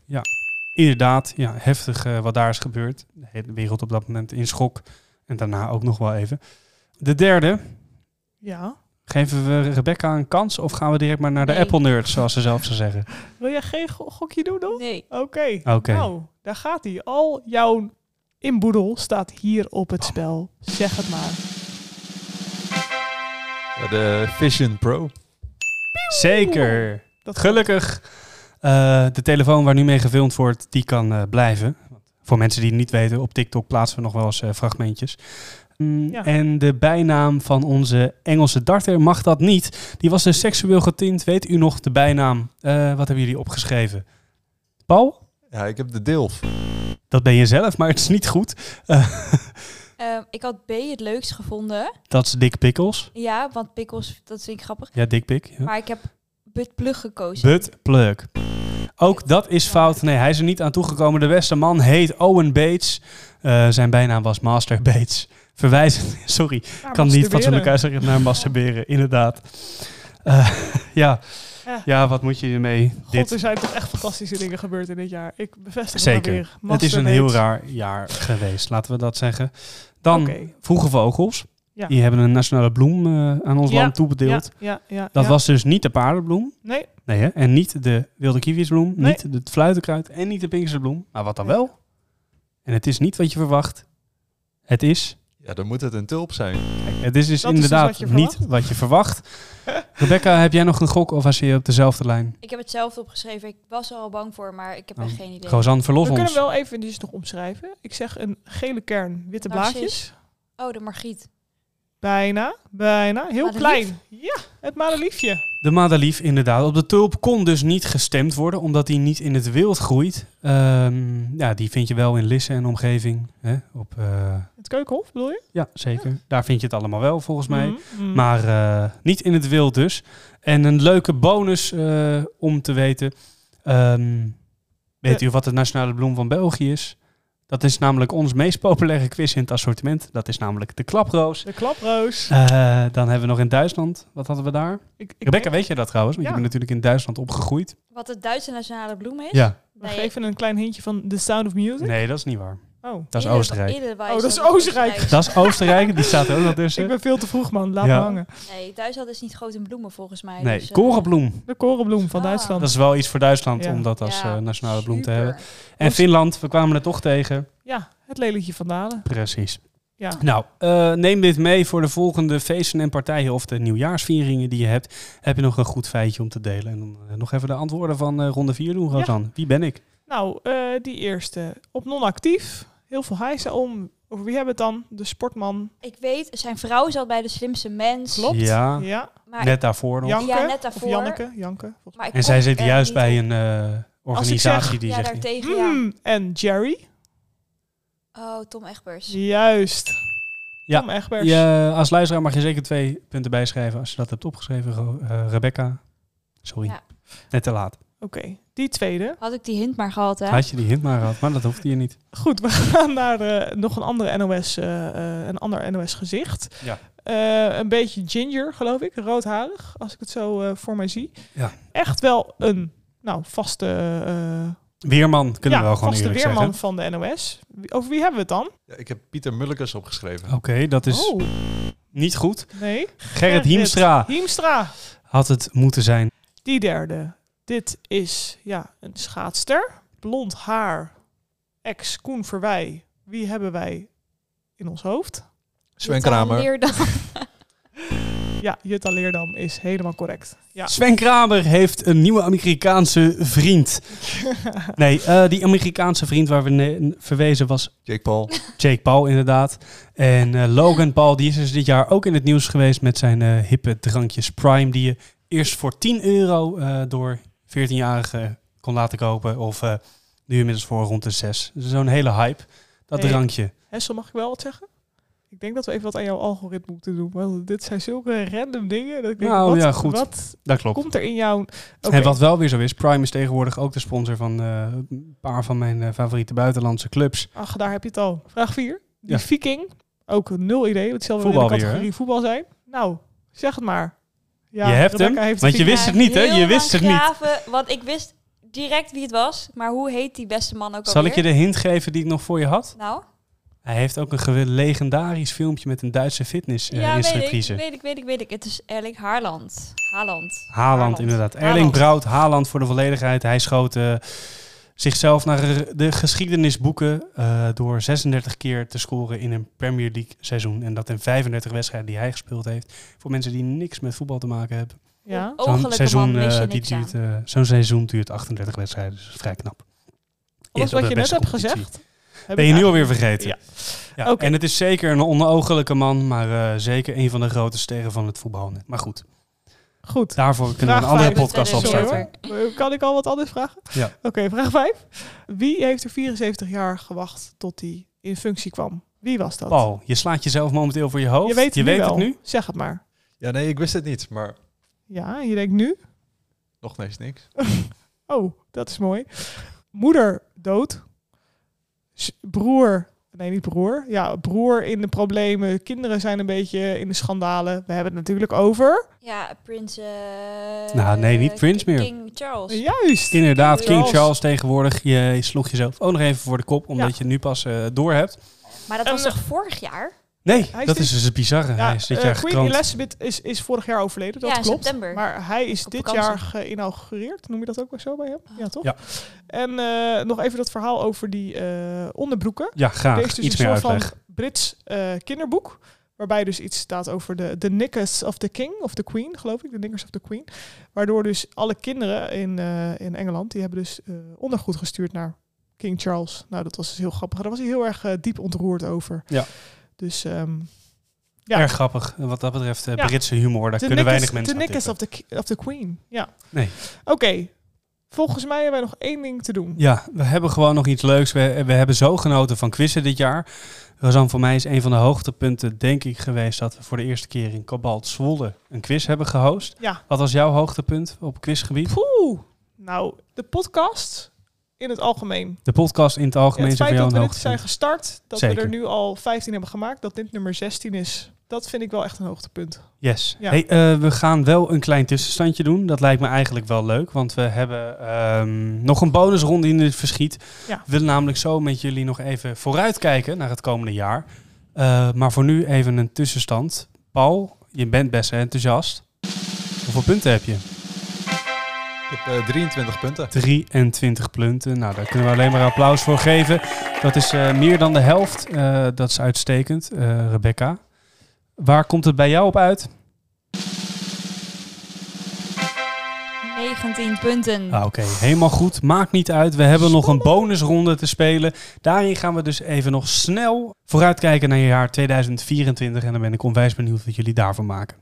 A: Inderdaad, ja, heftig eh, wat daar is gebeurd. De hele wereld op dat moment in schok. En daarna ook nog wel even. De derde,
B: Ja.
A: geven we Rebecca een kans of gaan we direct maar naar de
C: Nee.
A: Apple Nerds, zoals ze zelf zou zeggen?
B: Wil jij geen go- gokje doen dan?
C: Nee.
B: Oké.
A: Oh, Oké.
B: Nou, daar gaat hij. Al jouw inboedel staat hier op het spel. Zeg het maar.
E: Ja, de Vision Pro.
A: Zeker.
B: Dat
A: Gelukkig, eh, de telefoon waar nu mee gefilmd wordt, die kan eh, blijven. Voor mensen die het niet weten, op TikTok plaatsen we nog wel eens eh, fragmentjes. Mm,
B: Ja.
A: En de bijnaam van onze Engelse darter mag dat niet. Die was dus seksueel getint. Weet u nog de bijnaam? Eh, wat hebben jullie opgeschreven? Paul?
E: Ja, ik heb de DILF.
A: Dat ben je zelf, maar het is niet goed.
C: Ehm, ik had B het leukst gevonden.
A: Dat is Dick Pickles.
C: Ja, want pikkels, dat vind ik grappig.
A: Ja, Dick Pick. Ja.
C: Maar ik heb But Plug gekozen.
A: But plug. Ook dat is fout. Nee, hij is er niet aan toegekomen. De beste man heet Owen Bates. Eh, zijn bijnaam was Master Bates. Verwijzend, sorry,
B: Maar
A: kan niet
B: masturberen.
A: fatsoenlijk uitzeggen naar masturberen, inderdaad. Eh, ja.
B: Ja.
A: ja, wat moet je ermee?
B: Eh. God, er
A: Dit,
B: zijn toch echt fantastische dingen gebeurd in dit jaar. Ik bevestig
A: Zeker.
B: het maar weer.
A: het is een
B: Masturbate.
A: heel raar jaar geweest, laten we dat zeggen. Dan
B: Oké.
A: vroege vogels.
B: Ja.
A: Die hebben een nationale bloem eh, aan ons
B: Ja,
A: land toebedeeld.
B: Ja, ja, ja.
A: Dat
B: ja.
A: was dus niet de paardenbloem.
B: Nee,
A: Nee, hè? En niet de wilde kiwisbloem,
B: Nee.
A: niet het fluitenkruid en niet de pinksterbloem. Maar wat dan
B: Nee.
A: wel? En het is niet wat je verwacht. Het is,
E: Ja, dan moet het een tulp zijn.
A: kijk, het is dus
B: Dat is dus
A: inderdaad
B: wat je
A: niet wat je verwacht. Rebecca, heb jij nog een gok of was je op dezelfde lijn?
C: Ik heb het zelf opgeschreven. Ik was er al bang voor, maar ik heb
A: Oh,
C: echt geen idee.
A: Gozan,
B: we
A: verlos
B: kunnen
A: ons.
B: wel even die dus nog omschrijven. Ik zeg een gele kern, witte
C: Narcis.
B: blaadjes.
C: Oh, de Margriet.
B: Bijna, bijna. Heel
C: Madelief?
B: klein. Ja, het madeliefje.
A: De madelief, inderdaad. Op de tulp kon dus niet gestemd worden, omdat die niet in het wild groeit. Ehm, ja, die vind je wel in Lisse en omgeving. Hè? Op, eh,
B: Het keukenhof bedoel je?
A: ja, zeker. Daar vind je het allemaal wel, volgens mij.
B: Mhm, mhm.
A: Maar eh, niet in het wild dus. En een leuke bonus eh, om te weten. Ehm, weet
B: De-
A: u wat de nationale bloem van België is? Dat is namelijk ons meest populaire quiz in het assortiment. Dat is namelijk de klaproos.
B: De klaproos.
A: Eh, dan hebben we nog in Duitsland. Wat hadden we daar?
B: Ik, ik
A: Rebecca,
B: denk-
A: weet je dat trouwens? Want
B: Ja.
A: je bent natuurlijk in Duitsland opgegroeid.
C: Wat de Duitse nationale bloem is.
A: Ja.
B: We geven een klein hintje van The Sound of Music.
A: Nee, dat is niet waar.
B: Oh,
A: Dat is
C: Edelwe-
A: Oostenrijk.
C: Edelweiss
B: Oh, dat is
C: ook
B: Oostenrijk.
A: Dat is Oostenrijk. Die staat er ook nog
B: ik
A: tussen.
B: ben veel te vroeg, man. Laat
A: Dus, eh, Ja.
B: me hangen.
C: Nee, Duitsland is niet groot in bloemen volgens mij.
A: Nee,
C: dus, eh,
A: korenbloem.
B: De korenbloem van
C: Ah.
B: Duitsland.
A: Dat is wel iets voor Duitsland
B: Ja.
A: om dat als
C: ja,
A: eh, nationale bloem te
C: super.
A: hebben. En Finland, we kwamen er toch tegen.
B: Ja, het lelietje van Dalen.
A: Precies.
B: Ja.
A: Nou, eh, neem dit mee voor de volgende feesten en partijen of de nieuwjaarsvieringen die je hebt. Heb je nog een goed feitje om te delen? En dan eh, nog even de antwoorden van eh, ronde 4 doen,
B: Ja.
A: Rosan. Wie ben ik?
B: Nou, eh, die eerste. Op non-actief. Heel veel hijsen om. Over wie hebben we het dan? De sportman.
C: Ik weet, zijn vrouw zat bij de slimste mens.
B: Klopt.
A: Ja,
B: Ja.
C: Maar
A: net daarvoor nog.
C: Ja,
B: Janke.
C: net daarvoor.
B: Of Janneke. Janke. volgens
C: maar ik
A: En zij
C: kom
A: zit
C: er
A: juist
C: niet
A: bij
C: op.
A: een eh,
B: ik
A: organisatie die
C: Ja,
A: zegt... niet-
C: daartegen,
B: mij.
C: ja.
B: Mm, En Jerry.
C: Oh, Tom Egbers.
B: Juist.
A: Ja.
B: Tom Egbers.
A: Je, eh, als luisteraar mag je zeker twee punten bijschrijven als je dat hebt opgeschreven, Ro- eh, Rebecca. Sorry,
C: Ja.
A: net te laat.
B: Oké. Die tweede.
C: Had ik die hint maar gehad, hè?
A: Had je die hint maar gehad, maar dat hoeft hier niet.
B: Goed, we gaan naar eh, nog een andere NOS, eh, eh, een ander NOS gezicht.
A: Ja.
B: Eh, een beetje ginger, geloof ik. Roodharig, als ik het zo eh, voor mij zie.
A: Ja.
B: Echt wel een nou, vaste, eh,
A: Weerman
B: ja,
A: kunnen we wel gewoon
B: vaste
A: eerlijk
B: weerman
A: zeggen.
B: van de NOS. Wie- Over wie hebben we het dan?
E: Ja, ik heb Pieter Mullekes opgeschreven.
A: Oké, dat is
B: Oh,
A: niet goed.
B: nee.
A: Gerrit Hiemstra
B: Hiemstra.
A: had het moeten zijn.
B: Die derde. Dit is ja, een schaatster. Blond haar. Ex Koen Verwij. Wie hebben wij in ons hoofd?
E: Sven Kramer.
C: Leerdam.
B: Ja, Jutta Leerdam is helemaal correct. Ja.
A: Sven Kramer heeft een nieuwe Amerikaanse vriend. Nee, eh, die Amerikaanse vriend waar we ne- verwezen was
E: Jake Paul.
A: Jake Paul inderdaad. En eh, Logan Paul, die is dus dit jaar ook in het nieuws geweest met zijn eh, hippe drankjes Prime. Die je eerst voor 10 euro eh, door 14-jarigen kon laten kopen. Of eh, Nu inmiddels voor rond de 6. Dus zo'n hele hype. Dat
B: Hey.
A: drankje.
B: Hessel, mag ik wel wat zeggen? Ik denk dat we even wat aan jouw algoritme moeten doen. Want dit zijn zulke random dingen. Dat ik denk,
A: Nou,
B: wat,
A: ja, goed.
B: Wat
A: Dat klopt.
B: komt er in jouw... Oké,
A: En wat wel weer zo is, Prime is tegenwoordig ook de sponsor van eh, een paar van mijn eh, favoriete buitenlandse clubs.
B: Ach, daar heb je het al. Vraag 4. Die
A: Ja.
B: viking. Ook nul idee. Het zal wel in de
A: Voetbal weer,
B: categorie voetbal zijn. Nou, zeg het maar. Ja,
A: Je hebt hem,
B: Rebecca heeft de
A: want je
B: viking.
A: wist het niet, hè?
C: Heel
A: Je wist
C: lang
A: het niet.
C: graven, want ik wist direct wie het was. Maar hoe heet die beste man ook
A: Zal ik
C: alweer?
A: je de hint geven die ik nog voor je had?
C: Nou,
A: Hij heeft ook een gewe- legendarisch filmpje met een Duitse eh,
C: ja, weet
A: fitness-instructrice.
C: ik, weet ik, weet ik, weet ik. Het is Erling Haaland. Haaland.
A: Haaland,
C: Haaland.
A: inderdaad. Erling
C: Haaland.
A: Braut, Haaland voor de volledigheid. Hij schoot eh, zichzelf naar de geschiedenisboeken eh, door 36 keer te scoren in een Premier League seizoen. En dat in 35 wedstrijden die hij gespeeld heeft. Voor mensen die niks met voetbal te maken hebben.
B: Ja.
C: Ogelijke
A: seizoen,
C: man mis je
A: eh, die
C: niks aan.
A: duurt, eh, zo'n seizoen duurt 38 wedstrijden, dus dat is vrij knap.
B: Alles
A: Is
B: wat
A: op de
B: je net
A: beste
B: hebt
A: competitie.
B: gezegd. heb
A: Ben
B: ik
A: je nu
B: eigenlijk-
A: alweer vergeten?
B: Ja.
A: Ja,
B: Oké.
A: En het is zeker een onogelijke man, maar eh, zeker een van de grote sterren van het voetbal. Maar goed,
B: Goed.
A: daarvoor kunnen
B: Vraag
A: we een andere
B: vijf.
A: podcast
C: Sorry, hoor.
A: opstarten.
B: Eh, Kan ik al wat anders vragen?
A: Ja.
B: Oké, vraag 5. Wie heeft er 74 jaar gewacht tot hij in functie kwam? Wie was dat?
A: Paul, je slaat jezelf momenteel voor Oh, je hoofd.
B: je weet, het, nu wel.
A: het nu.
B: Zeg het maar.
E: Ja, nee, ik wist het niet, maar
B: Ja, je denkt nu.
E: nog steeds niks.
B: Oh, dat is mooi. Moeder dood. Z- Broer. Nee, niet broer. Ja, broer in de problemen. Kinderen zijn een beetje in de schandalen. We hebben het natuurlijk over.
C: Ja, prins... eh,
A: Nou, nee, niet
C: eh,
A: prins meer.
C: King Charles.
B: Juist.
A: Inderdaad, King
B: Charles.
A: Charles tegenwoordig. Je sloeg jezelf ook nog even voor de kop, omdat
B: Ja.
A: je het nu pas eh door hebt.
C: Maar dat
B: En,
C: was toch vorig jaar?
A: Nee,
B: Hij is
A: dat
B: dit-
A: is dus het bizarre.
B: Ja,
A: Hij is dit
B: eh,
A: jaar
B: Queen
A: gekroond.
B: Elizabeth is, is vorig jaar overleden, dat
C: ja, in
B: klopt.
C: september.
B: Maar hij is
C: Op
B: dit
C: vakantie. Ah.
B: jaar geïnaugureerd, noem je dat ook wel zo bij hem? Ja, toch?
A: Ja.
B: En eh, nog even dat verhaal over die eh, onderbroeken.
A: Ja,
B: Er
A: graag.
B: is dus
A: Iets
B: een
A: meer
B: soort
A: uitleg.
B: van Brits eh, kinderboek, waarbij dus iets staat over de, de knickers of the king, of the queen, geloof ik, de knickers of the queen. Waardoor dus alle kinderen in, eh, in Engeland, die hebben dus eh, ondergoed gestuurd naar King Charles. Nou, dat was dus heel grappig. Daar was hij heel erg eh, diep ontroerd over.
A: Ja.
B: Dus... ehm, ja.
A: Erg grappig. En Wat dat betreft, eh,
B: Ja.
A: Britse humor, daar
B: De
A: kunnen weinig
B: Knickers-
A: mensen aan
B: De Knickers
A: tippen.
B: of the, ki- of the Queen, ja.
A: Nee.
B: Oké, volgens mij hebben wij nog één ding te doen.
A: Ja, we hebben gewoon nog iets leuks. We, we hebben zo genoten van quizzen dit jaar. Rosanne, voor mij is een van de hoogtepunten, denk ik, geweest dat we voor de eerste keer in Cobalt Zwolle een quiz hebben gehost.
B: Ja.
A: Wat was jouw hoogtepunt op quizgebied?
B: Poeh, nou, de podcast in het algemeen.
A: De podcast in het algemeen
B: het
A: zijn
B: feit
A: voor
B: dat
A: jou
B: we
A: een
B: dit zijn
A: hoogtepunt.
B: gestart, dat we
A: Zeker.
B: er nu al 15 hebben gemaakt, dat dit nummer 16 is, dat vind ik wel echt een hoogtepunt.
A: Yes.
B: Ja.
A: Hey, eh, we gaan wel een klein tussenstandje doen. Dat lijkt me eigenlijk wel leuk, want we hebben ehm, nog een bonusronde in het verschiet.
B: Ja.
A: We willen namelijk zo met jullie nog even vooruitkijken naar het komende jaar. Eh, maar voor nu even een tussenstand. Paul, je bent best enthousiast. Hoeveel punten heb je?
E: Ik heb eh, 23 punten.
A: 23 punten. Nou, daar kunnen we alleen maar applaus voor geven. Dat is eh, meer dan de helft. Eh, dat is uitstekend, eh, Rebecca. Waar komt het bij jou op uit?
C: 19 punten.
A: Ah, Oké, helemaal goed. Maakt niet uit. We hebben nog een bonusronde te spelen. Daarin gaan we dus even nog snel vooruitkijken naar je jaar 2024. En dan ben ik onwijs benieuwd wat jullie daarvan maken.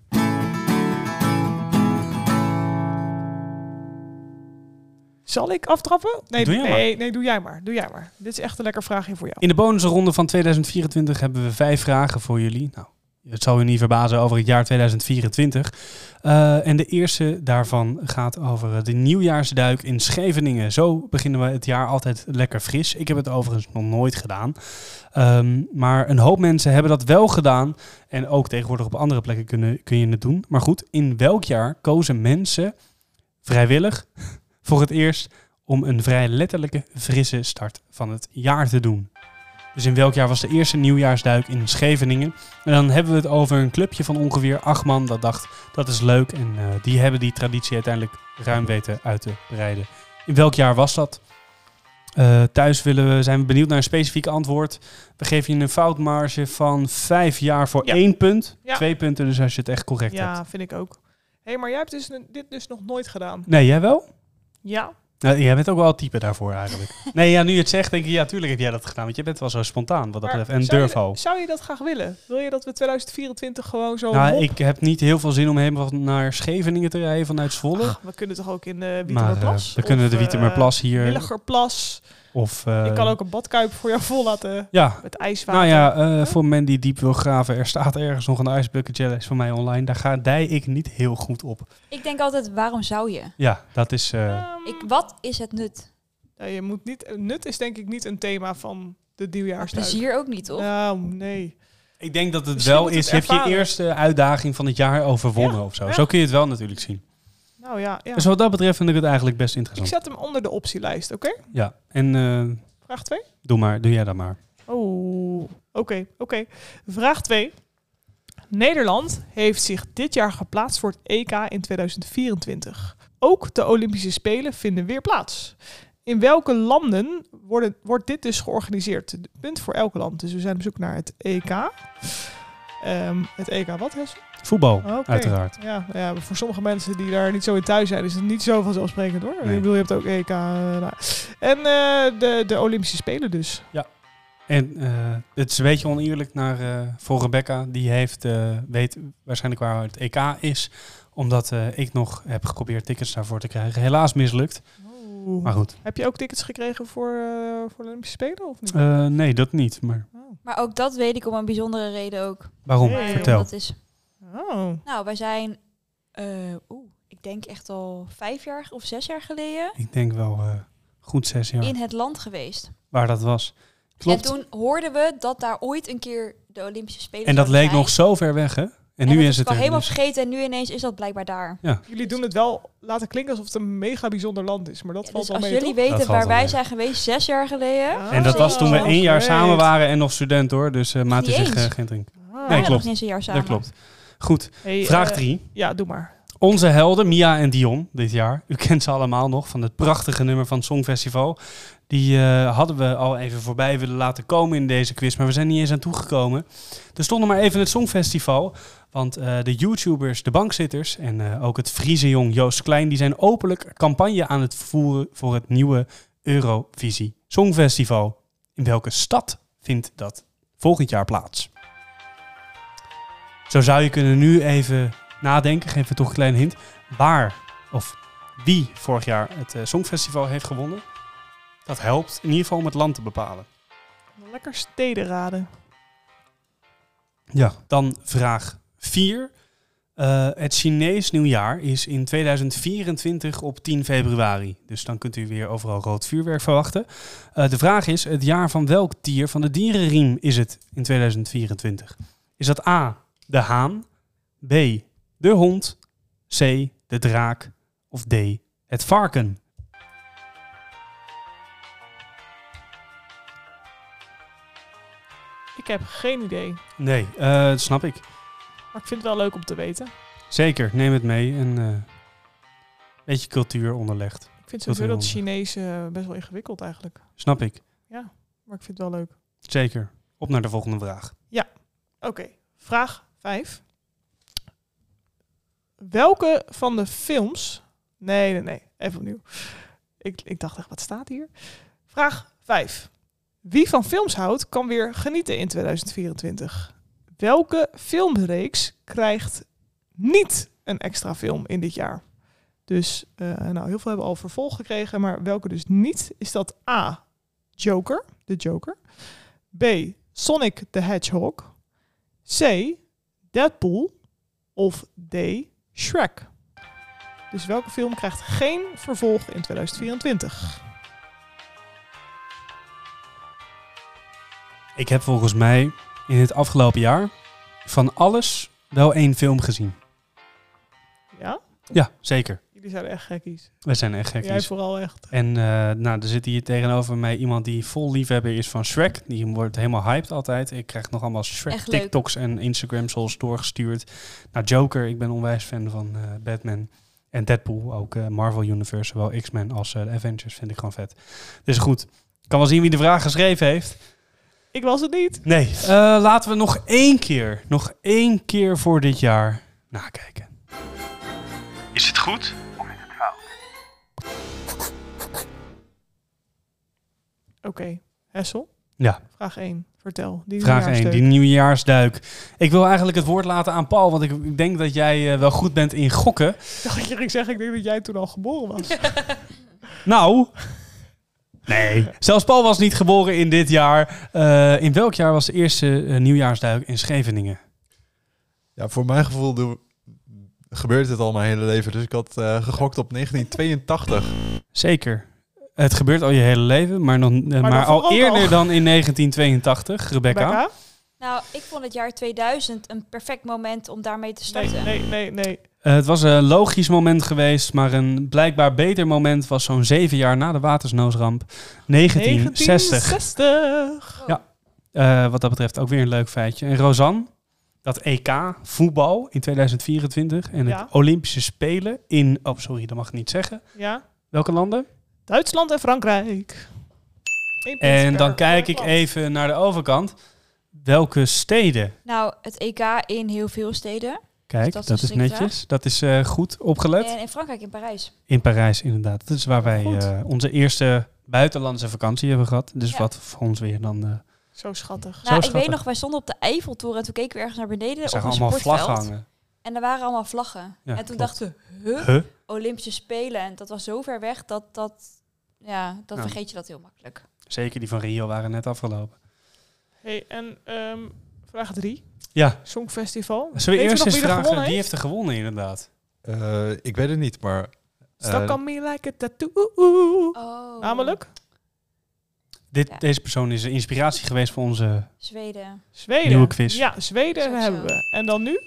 B: Zal ik aftrappen? Nee,
A: Doe jij maar.
B: nee, nee, doe jij maar. Doe jij maar. Dit is echt een lekker vraagje voor jou.
A: In de bonusronde van 2024 hebben we vijf vragen voor jullie. Nou, het zal u niet verbazen over het jaar 2024. Eh, en de eerste daarvan gaat over de nieuwjaarsduik in Scheveningen. Zo beginnen we het jaar altijd lekker fris. Ik heb het overigens nog nooit gedaan. Ehm, maar een hoop mensen hebben dat wel gedaan. En ook tegenwoordig op andere plekken kunnen, kun je het doen. Maar goed, in welk jaar kozen mensen vrijwillig voor het eerst om een vrij letterlijke frisse start van het jaar te doen? Dus in welk jaar was de eerste nieuwjaarsduik in Scheveningen? En dan hebben we het over een clubje van ongeveer acht man dat dacht dat is leuk. En eh, die hebben die traditie uiteindelijk ruim weten uit te breiden. In welk jaar was dat? Eh, thuis willen we, zijn we benieuwd naar een specifiek antwoord. We geven je een foutmarge van vijf jaar voor
B: Ja.
A: één punt.
B: Ja.
A: Twee punten dus als je het echt correct hebt.
B: Ja, vind ik ook. Hé, hey, maar jij hebt dus, n- dit dus nog nooit gedaan.
A: Nee, jij wel?
B: Ja.
A: Nou, jij bent ook wel het type daarvoor eigenlijk. nee, ja, nu je het zegt denk ik, ja, tuurlijk heb jij dat gedaan. Want je bent wel zo spontaan wat dat
B: maar
A: betreft. En
B: zou je-
A: durf al.
B: Zou je dat graag willen? Wil je dat we 2024 gewoon zo
A: Nou,
B: hop
A: ik heb niet heel veel zin om helemaal naar Scheveningen te rijden vanuit Zwolle.
B: Ach, we kunnen toch ook in de
A: maar eh,
B: Wietemerplas?
A: we kunnen
B: Ah, Of,
A: de
B: eh,
A: Wietermerplas hier.
B: Willigerplas.
A: Of, eh,
B: Ik kan ook een badkuip voor jou vol laten
A: Ja,
B: met ijswater.
A: nou ja, eh, voor men die diep wil graven, er staat ergens nog een ijsbucket challenge van mij online. Daar ga dij ik niet heel goed op.
C: Ik denk altijd, waarom zou je?
A: Ja, dat is... eh,
B: Ehm,
C: Ik, wat is het nut?
B: ja, Nou, je moet niet, nut is denk ik niet een thema van de nieuwjaarsduik.
C: Plezier ook niet, toch?
B: Nou, nee.
A: Ik denk dat het
B: Misschien
A: wel
B: moet het
A: is. Heb je
B: ervaren.
A: eerste uitdaging van het jaar overwonnen of zo?
B: ja.
A: Zo kun je het wel natuurlijk zien.
B: Nou ja, ja.
A: Dus wat dat betreft vind ik het eigenlijk best
B: ik
A: interessant.
B: zet hem onder de optielijst, oké?
A: Ja, en eh,
B: Vraag 2.
A: doe maar, doe jij dat maar.
B: Oh, oké, oké. Vraag 2. Nederland heeft zich dit jaar geplaatst voor het EK in 2024. Ook de Olympische Spelen vinden weer plaats. In welke landen worden, wordt dit dus georganiseerd? Een Punt voor elk land. Dus we zijn op zoek naar het EK. Ehm, het EK wat is?
A: Voetbal,
B: Oké.
A: uiteraard.
B: Ja, ja, voor sommige mensen die daar niet zo in thuis zijn, is het niet zo vanzelfsprekend hoor.
A: Nee.
B: Ik bedoel, je hebt ook EK. eh, nou. En eh, de, de Olympische Spelen dus.
A: En eh, het is een beetje oneerlijk naar, eh, voor Rebecca. Die heeft, eh, weet waarschijnlijk waar het EK is. Omdat eh, ik nog heb geprobeerd tickets daarvoor te krijgen. Helaas mislukt. Maar goed.
B: Heb je ook tickets gekregen voor, eh, voor de Olympische Spelen of niet?
A: Eh, nee, dat niet. Maar
B: Oh.
C: Maar ook dat weet ik om een bijzondere reden ook.
A: waarom?
B: Nee,
A: Vertel.
C: Dat is,
B: Oh.
C: nou, wij zijn, eh, oeh, ik denk echt al vijf jaar of zes jaar geleden
A: Ik denk wel eh, goed zes jaar
C: in het land geweest.
A: waar dat was. Klopt.
C: En toen hoorden we dat daar ooit een keer de Olympische Spelen
A: En dat
C: zouden
A: leek
C: zijn.
A: nog zo ver weg, hè? En,
C: En
A: nu
C: dat
A: is het
C: Ik
A: er.
C: was helemaal
A: dus.
C: vergeten en nu ineens is dat blijkbaar daar.
B: Jullie doen het wel laten klinken alsof het een mega bijzonder land is, maar dat
C: Ja,
B: valt
C: dus
B: wel
C: als
B: mee,
C: jullie
A: Dat
C: weten
A: valt
C: waar
A: wel
C: wij
A: mee.
C: zijn geweest zes jaar geleden.
B: toch?
A: En dat
C: Oh,
A: was toen we
C: oh,
A: één jaar
B: great.
A: samen waren en nog student hoor. Dus eh maat is
C: Niet
A: zich eh,
C: eens.
A: geen drink.
B: Ah.
A: Nee,
C: waren we
A: klopt.
C: nog eens een jaar samen.
A: Dat klopt. Goed,
B: Hey,
A: vraag
B: eh,
A: 3.
B: Ja, doe maar.
A: Onze helden, Mia en Dion, dit jaar. U kent ze allemaal nog van het prachtige nummer van het Songfestival. Die eh, hadden we al even voorbij willen laten komen in deze quiz, maar we zijn niet eens aan toegekomen. Er stonden maar even het Songfestival, want eh, de YouTubers, de bankzitters en eh, ook het Friese jong Joost Klein, die zijn openlijk campagne aan het voeren voor het nieuwe Eurovisie Songfestival. In welke stad vindt dat volgend jaar plaats? Zo zou je kunnen nu even nadenken, geef me toch een kleine hint. Waar of wie vorig jaar het eh, Songfestival heeft gewonnen, dat helpt in ieder geval om het land te bepalen.
B: Lekker steden raden.
A: Ja. Dan vraag 4. Eh, het Chinees nieuwjaar is in 2024 op 10 februari. Dus dan kunt u weer overal rood vuurwerk verwachten. Eh, de vraag is, het jaar van welk dier van de dierenriem is het in 2024? Is dat A, de haan, B, de hond, C, de draak of D, het varken?
B: Ik heb geen idee,
A: Nee, eh, dat snap ik.
B: maar ik vind het wel leuk om te weten.
A: Zeker, neem het mee en eh, een beetje cultuur onderlegd.
B: Ik vind
A: Dat is
B: sowieso dat
A: heel
B: Chinees eh, best wel ingewikkeld eigenlijk,
A: Snap ik.
B: maar ik vind het wel leuk.
A: Zeker. Op naar de volgende vraag.
B: Oké, vraag 5. Welke van de films. Nee, nee, nee, even opnieuw. Ik, ik dacht echt, wat staat hier? Vraag 5. Wie van films houdt, kan weer genieten in 2024. Welke filmreeks krijgt niet een extra film in dit jaar? Dus, eh, nou, heel veel hebben al vervolg gekregen, maar welke dus niet? Is dat A. Joker, de Joker. B. Sonic the Hedgehog. C. Deadpool. Of D. Shrek. Dus welke film krijgt geen vervolg in 2024?
A: Ik heb volgens mij in het afgelopen jaar van alles wel één film gezien.
B: Ja?
A: Ja, zeker.
B: Jullie zijn echt gekkies.
A: We zijn echt gek.
B: Jij vooral echt.
A: En eh, nou, er zit hier tegenover mij iemand die vol liefhebber is van Shrek. Die wordt helemaal hyped altijd. Ik krijg nog allemaal
C: Echt leuk.
A: Shrek-TikToks en Instagram-souls doorgestuurd. Nou, Joker, ik ben onwijs fan van eh, Batman. En Deadpool, ook eh, Marvel Universe, zowel X-Men als eh, de Avengers, vind ik gewoon vet. Dus goed, ik kan wel zien wie de vraag geschreven heeft.
B: Ik was het niet.
A: Nee. Eh, laten we nog één keer, nog één keer voor dit jaar nakijken. Is het goed?
B: Oké. Hessel?
A: Ja.
B: Vraag 1. Vertel. Die
A: Vraag 1, die
B: nieuwjaarsdeuk.
A: nieuwjaarsduik. Ik wil eigenlijk het woord laten aan Paul, want ik, ik denk dat jij eh, wel goed bent in gokken.
B: Dacht je, ik zeg, ik denk dat jij toen al geboren was.
A: Nou, Nee. Zelfs Paul was niet geboren in dit jaar. Eh, in welk jaar was de eerste eh, nieuwjaarsduik in Scheveningen?
E: Ja, voor mijn gevoel doe- gebeurt het al mijn hele leven. Dus ik had eh, gegokt op 1982.
A: Zeker. Het gebeurt al je hele leven, maar, nog, eh, maar,
B: daarvoor ook
A: al
B: al.
A: eerder dan in 1982, Rebecca.
B: Becca?
C: Nou, ik vond het jaar 2000 een perfect moment om daarmee te
B: Nee,
C: starten.
B: nee, nee, nee.
A: Eh, het was een logisch moment geweest, maar een blijkbaar beter moment was zo'n zeven jaar na de watersnoodramp, 1960.
B: 1960.
A: Eh, wat dat betreft ook weer een leuk feitje. En Rosanne, dat EK voetbal in 2024 en
B: Ja.
A: het Olympische Spelen in, oh sorry, dat mag ik niet zeggen.
B: Ja.
A: Welke landen?
B: Duitsland en Frankrijk. Eén punt
A: En
B: per
A: dan kijk ik
B: land.
A: even naar de overkant. Welke steden?
C: Nou, het EK in heel veel steden.
A: Kijk,
C: dat
A: dat,
C: is
A: is
C: een slinkvraag.
A: netjes. Dat is eh, goed opgelet.
C: En in Frankrijk, in Parijs.
A: In Parijs inderdaad. Dat is waar wij
B: Goed.
A: eh, onze eerste buitenlandse vakantie hebben gehad. Dus
C: Ja.
A: wat voor ons weer dan... eh
B: Zo schattig.
C: Nou, ik weet
A: schattig.
C: nog, wij stonden op de Eiffeltoren en toen keken we ergens naar beneden
A: er
C: op een
A: zagen allemaal
C: sportveld.
A: vlaggen hangen.
C: En er waren allemaal vlaggen.
A: Ja,
C: en toen
A: klopt.
C: dachten we, huh,
A: Huh?
C: Olympische Spelen. En dat was zo ver weg dat dat, ja, dan
A: Ja.
C: vergeet je dat heel makkelijk.
A: Zeker die van Rio waren net afgelopen.
B: Hey, en ehm, vraag 3.
A: Ja.
B: Songfestival.
A: Zullen we
B: Weet
A: eerst
B: nog
A: eens
B: wie er
A: vragen?
B: gewonnen
A: Wie
B: heeft?
A: heeft er gewonnen inderdaad?
E: Eh, ik weet het niet, maar
B: Stuck
E: eh,
B: on me like a tattoo.
C: Oh.
B: Namelijk
A: Dit,
C: Ja.
A: Deze persoon is een inspiratie geweest voor onze...
C: Oh, Zweden.
B: Zweden.
A: Nieuwe quiz.
B: Ja, Zweden
C: Sowieso.
B: hebben we. En dan nu?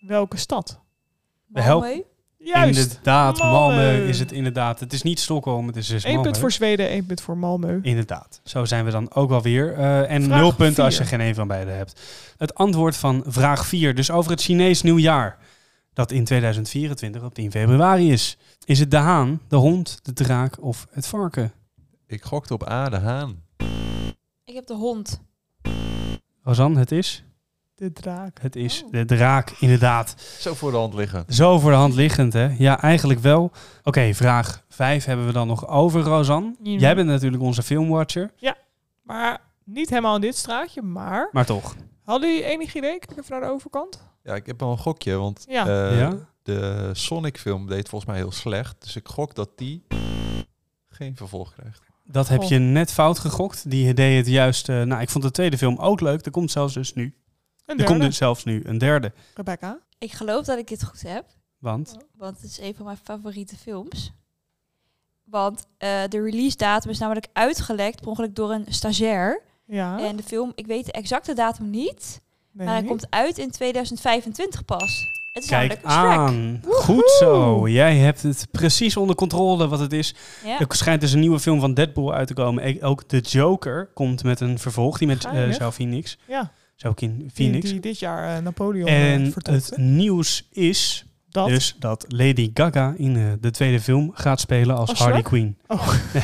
B: Welke stad?
A: helpen.
C: Malmö.
B: Juist.
A: Inderdaad, Malmö
B: Malmö.
A: is het inderdaad. Het is niet Stockholm, het is dus
B: Eén punt
A: Malmö.
B: voor Zweden, één punt voor Malmö.
A: Inderdaad. Zo zijn we dan ook wel weer. Eh, en
B: Vraag
A: nul punten als je
B: vier.
A: geen een van beide hebt. Het antwoord van vraag 4, dus over het Chinees nieuwjaar. Dat in 2024 op 10 februari is. Is het de haan, de hond, de draak of het varken?
E: ik gokte op A, de Haan.
C: Ik heb de hond.
A: Rosanne, het is?
B: De draak.
A: Het is
C: Oh.
A: de draak, inderdaad.
E: Zo voor de hand liggen.
A: Zo voor de hand liggend, hè? Ja, eigenlijk wel. Oké, vraag 5 hebben we dan nog over, Rosanne.
B: Ja.
A: Jij bent natuurlijk onze filmwatcher,
B: Maar niet helemaal in dit straatje, maar...
A: maar toch.
B: Hadden jullie enig idee? Kijk even naar de overkant.
E: Ja, ik heb wel een gokje, want
B: Ja.
E: eh,
A: Ja?
E: de Sonic film deed volgens mij heel slecht. Dus ik gok dat die geen vervolg krijgt.
A: Dat heb
B: Goh.
A: je net fout gegokt. Die deed het juist... eh, nou, ik vond de tweede film ook leuk. Er komt zelfs dus nu
B: En
A: Er komt
B: derde,
A: dus zelfs nu een derde.
B: Rebecca.
C: Ik geloof dat ik dit goed heb.
A: Want
C: Want het is een van mijn favoriete films. Want eh, de release datum is namelijk uitgelekt per ongeluk door een stagiair.
B: Ja.
C: En de film, ik weet de exacte datum niet.
B: nee,
C: maar hij
B: niet.
C: komt uit in 2025 pas. Het is
A: kijk
C: namelijk Shrek.
A: aan. Goed zo. Jij hebt het precies onder controle wat het is.
C: Ja.
A: Er schijnt dus een nieuwe film van Deadpool uit te komen. E- Ook The Joker komt met een vervolg. Die met eh
B: Geinig.
A: Zou Phoenix.
B: Ja,
A: Zou Kin-
B: die,
A: Phoenix.
B: die dit jaar eh, Napoleon en
A: en
B: vertelt.
A: het nieuws is
B: Dat.
A: dus dat Lady Gaga in eh, de tweede film gaat spelen als,
B: Als
A: Harley
B: Shrek?
A: Quinn.
B: Oh.
A: Nee,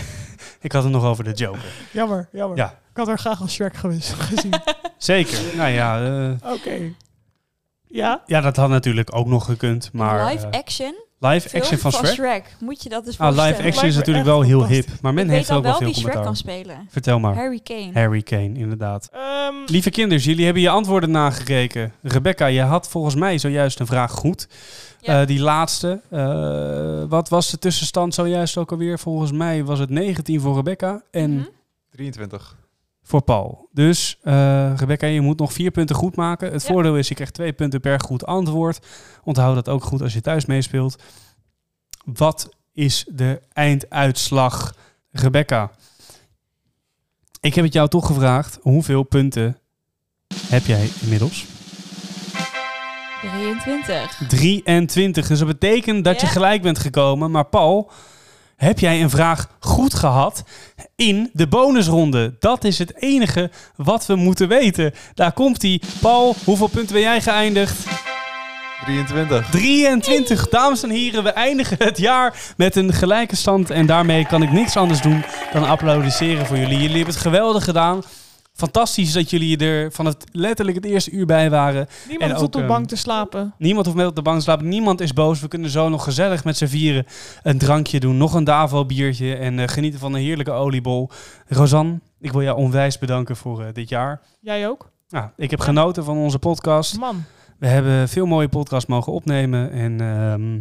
A: ik had het nog over de Joker.
B: Jammer, jammer.
A: Ja.
B: Ik had haar graag als Shrek geweest, gezien. Oké.
A: Zeker. Nou ja, eh,
B: Ja?
A: ja, dat had natuurlijk ook nog gekund. Maar
C: live
A: eh,
C: action.
A: live
C: film
A: action van Shrek.
C: Moet je dat eens
A: Ah,
C: voorstellen?
A: live action
B: Lijkt
A: is
B: me
A: natuurlijk
B: echt
A: wel heel hip.
B: fantastisch.
A: Maar men
C: ik weet
A: heeft
C: dan
A: ook wel
C: wel
A: veel
C: wie Shrek
A: commentaar.
C: kan
A: over.
C: spelen.
A: Vertel maar.
C: Harry Kane.
A: Harry Kane, inderdaad.
B: Ehm,
A: Lieve kinders, jullie hebben je antwoorden nagekeken. Rebecca, je had volgens mij zojuist een vraag goed.
C: Ja.
A: Eh, die laatste. eh, wat was de tussenstand zojuist ook alweer? Volgens mij was het 19 voor Rebecca en
C: Mhm.
E: 23.
A: voor Paul. Dus eh, Rebecca, je moet nog vier punten goed maken. Het
C: Ja.
A: voordeel is, je krijgt twee punten per goed antwoord. Onthoud dat ook goed als je thuis meespeelt. Wat is de einduitslag, Rebecca? Ik heb het jou toch gevraagd. Hoeveel punten heb jij inmiddels?
C: 23.
A: 23. Dus dat betekent dat
C: Ja.
A: je gelijk bent gekomen. Maar Paul, heb jij een vraag goed gehad in de bonusronde? Dat is het enige wat we moeten weten. Daar komt hij. Paul, hoeveel punten ben jij geëindigd?
E: 23.
A: 23. Dames en heren, we eindigen het jaar met een gelijke stand. En daarmee kan ik niks anders doen dan applaudisseren voor jullie. Jullie hebben het geweldig gedaan. Fantastisch dat jullie er van het letterlijk het eerste uur bij waren.
B: niemand
A: En
B: hoeft
A: ook,
B: op de
A: ehm,
B: bank te slapen.
A: Niemand hoeft met op de bank te slapen. Niemand is boos. We kunnen zo nog gezellig met z'n vieren een drankje doen. Nog een Davo-biertje en eh, genieten van een heerlijke oliebol. Rosanne, ik wil jou onwijs bedanken voor eh, dit jaar.
B: Jij ook?
A: Nou, ik heb genoten van onze podcast.
B: Man.
A: We hebben veel mooie podcasts mogen opnemen. En ehm,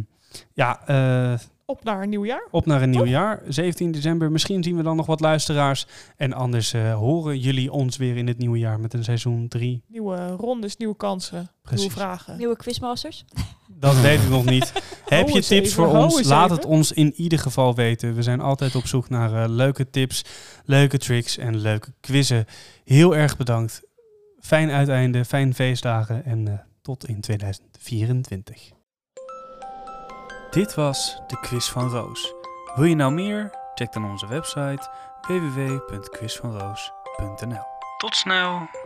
A: ja, eh,
B: op naar een nieuw jaar.
A: Op naar een nieuw jaar, 17 december. Misschien zien we dan nog wat luisteraars. En anders eh, horen jullie ons weer in het nieuwe jaar met een seizoen 3.
B: Nieuwe rondes, nieuwe kansen,
A: Precies.
B: nieuwe vragen.
C: Nieuwe quizmasters.
A: Dat weet ik nog niet. Heb
B: Hou
A: je
B: eens
A: tips
B: even,
A: voor
B: hou
A: ons?
B: eens
A: Laat
B: even.
A: het ons in ieder geval weten. We zijn altijd op zoek naar eh, leuke tips, leuke tricks en leuke quizzen. Heel erg bedankt. Fijn uiteinde, fijn feestdagen en eh, tot in 2024.
D: Dit was de Quiz van Roos. Wil je nou meer? Check dan onze website www.quizvanroos.nl. Tot snel!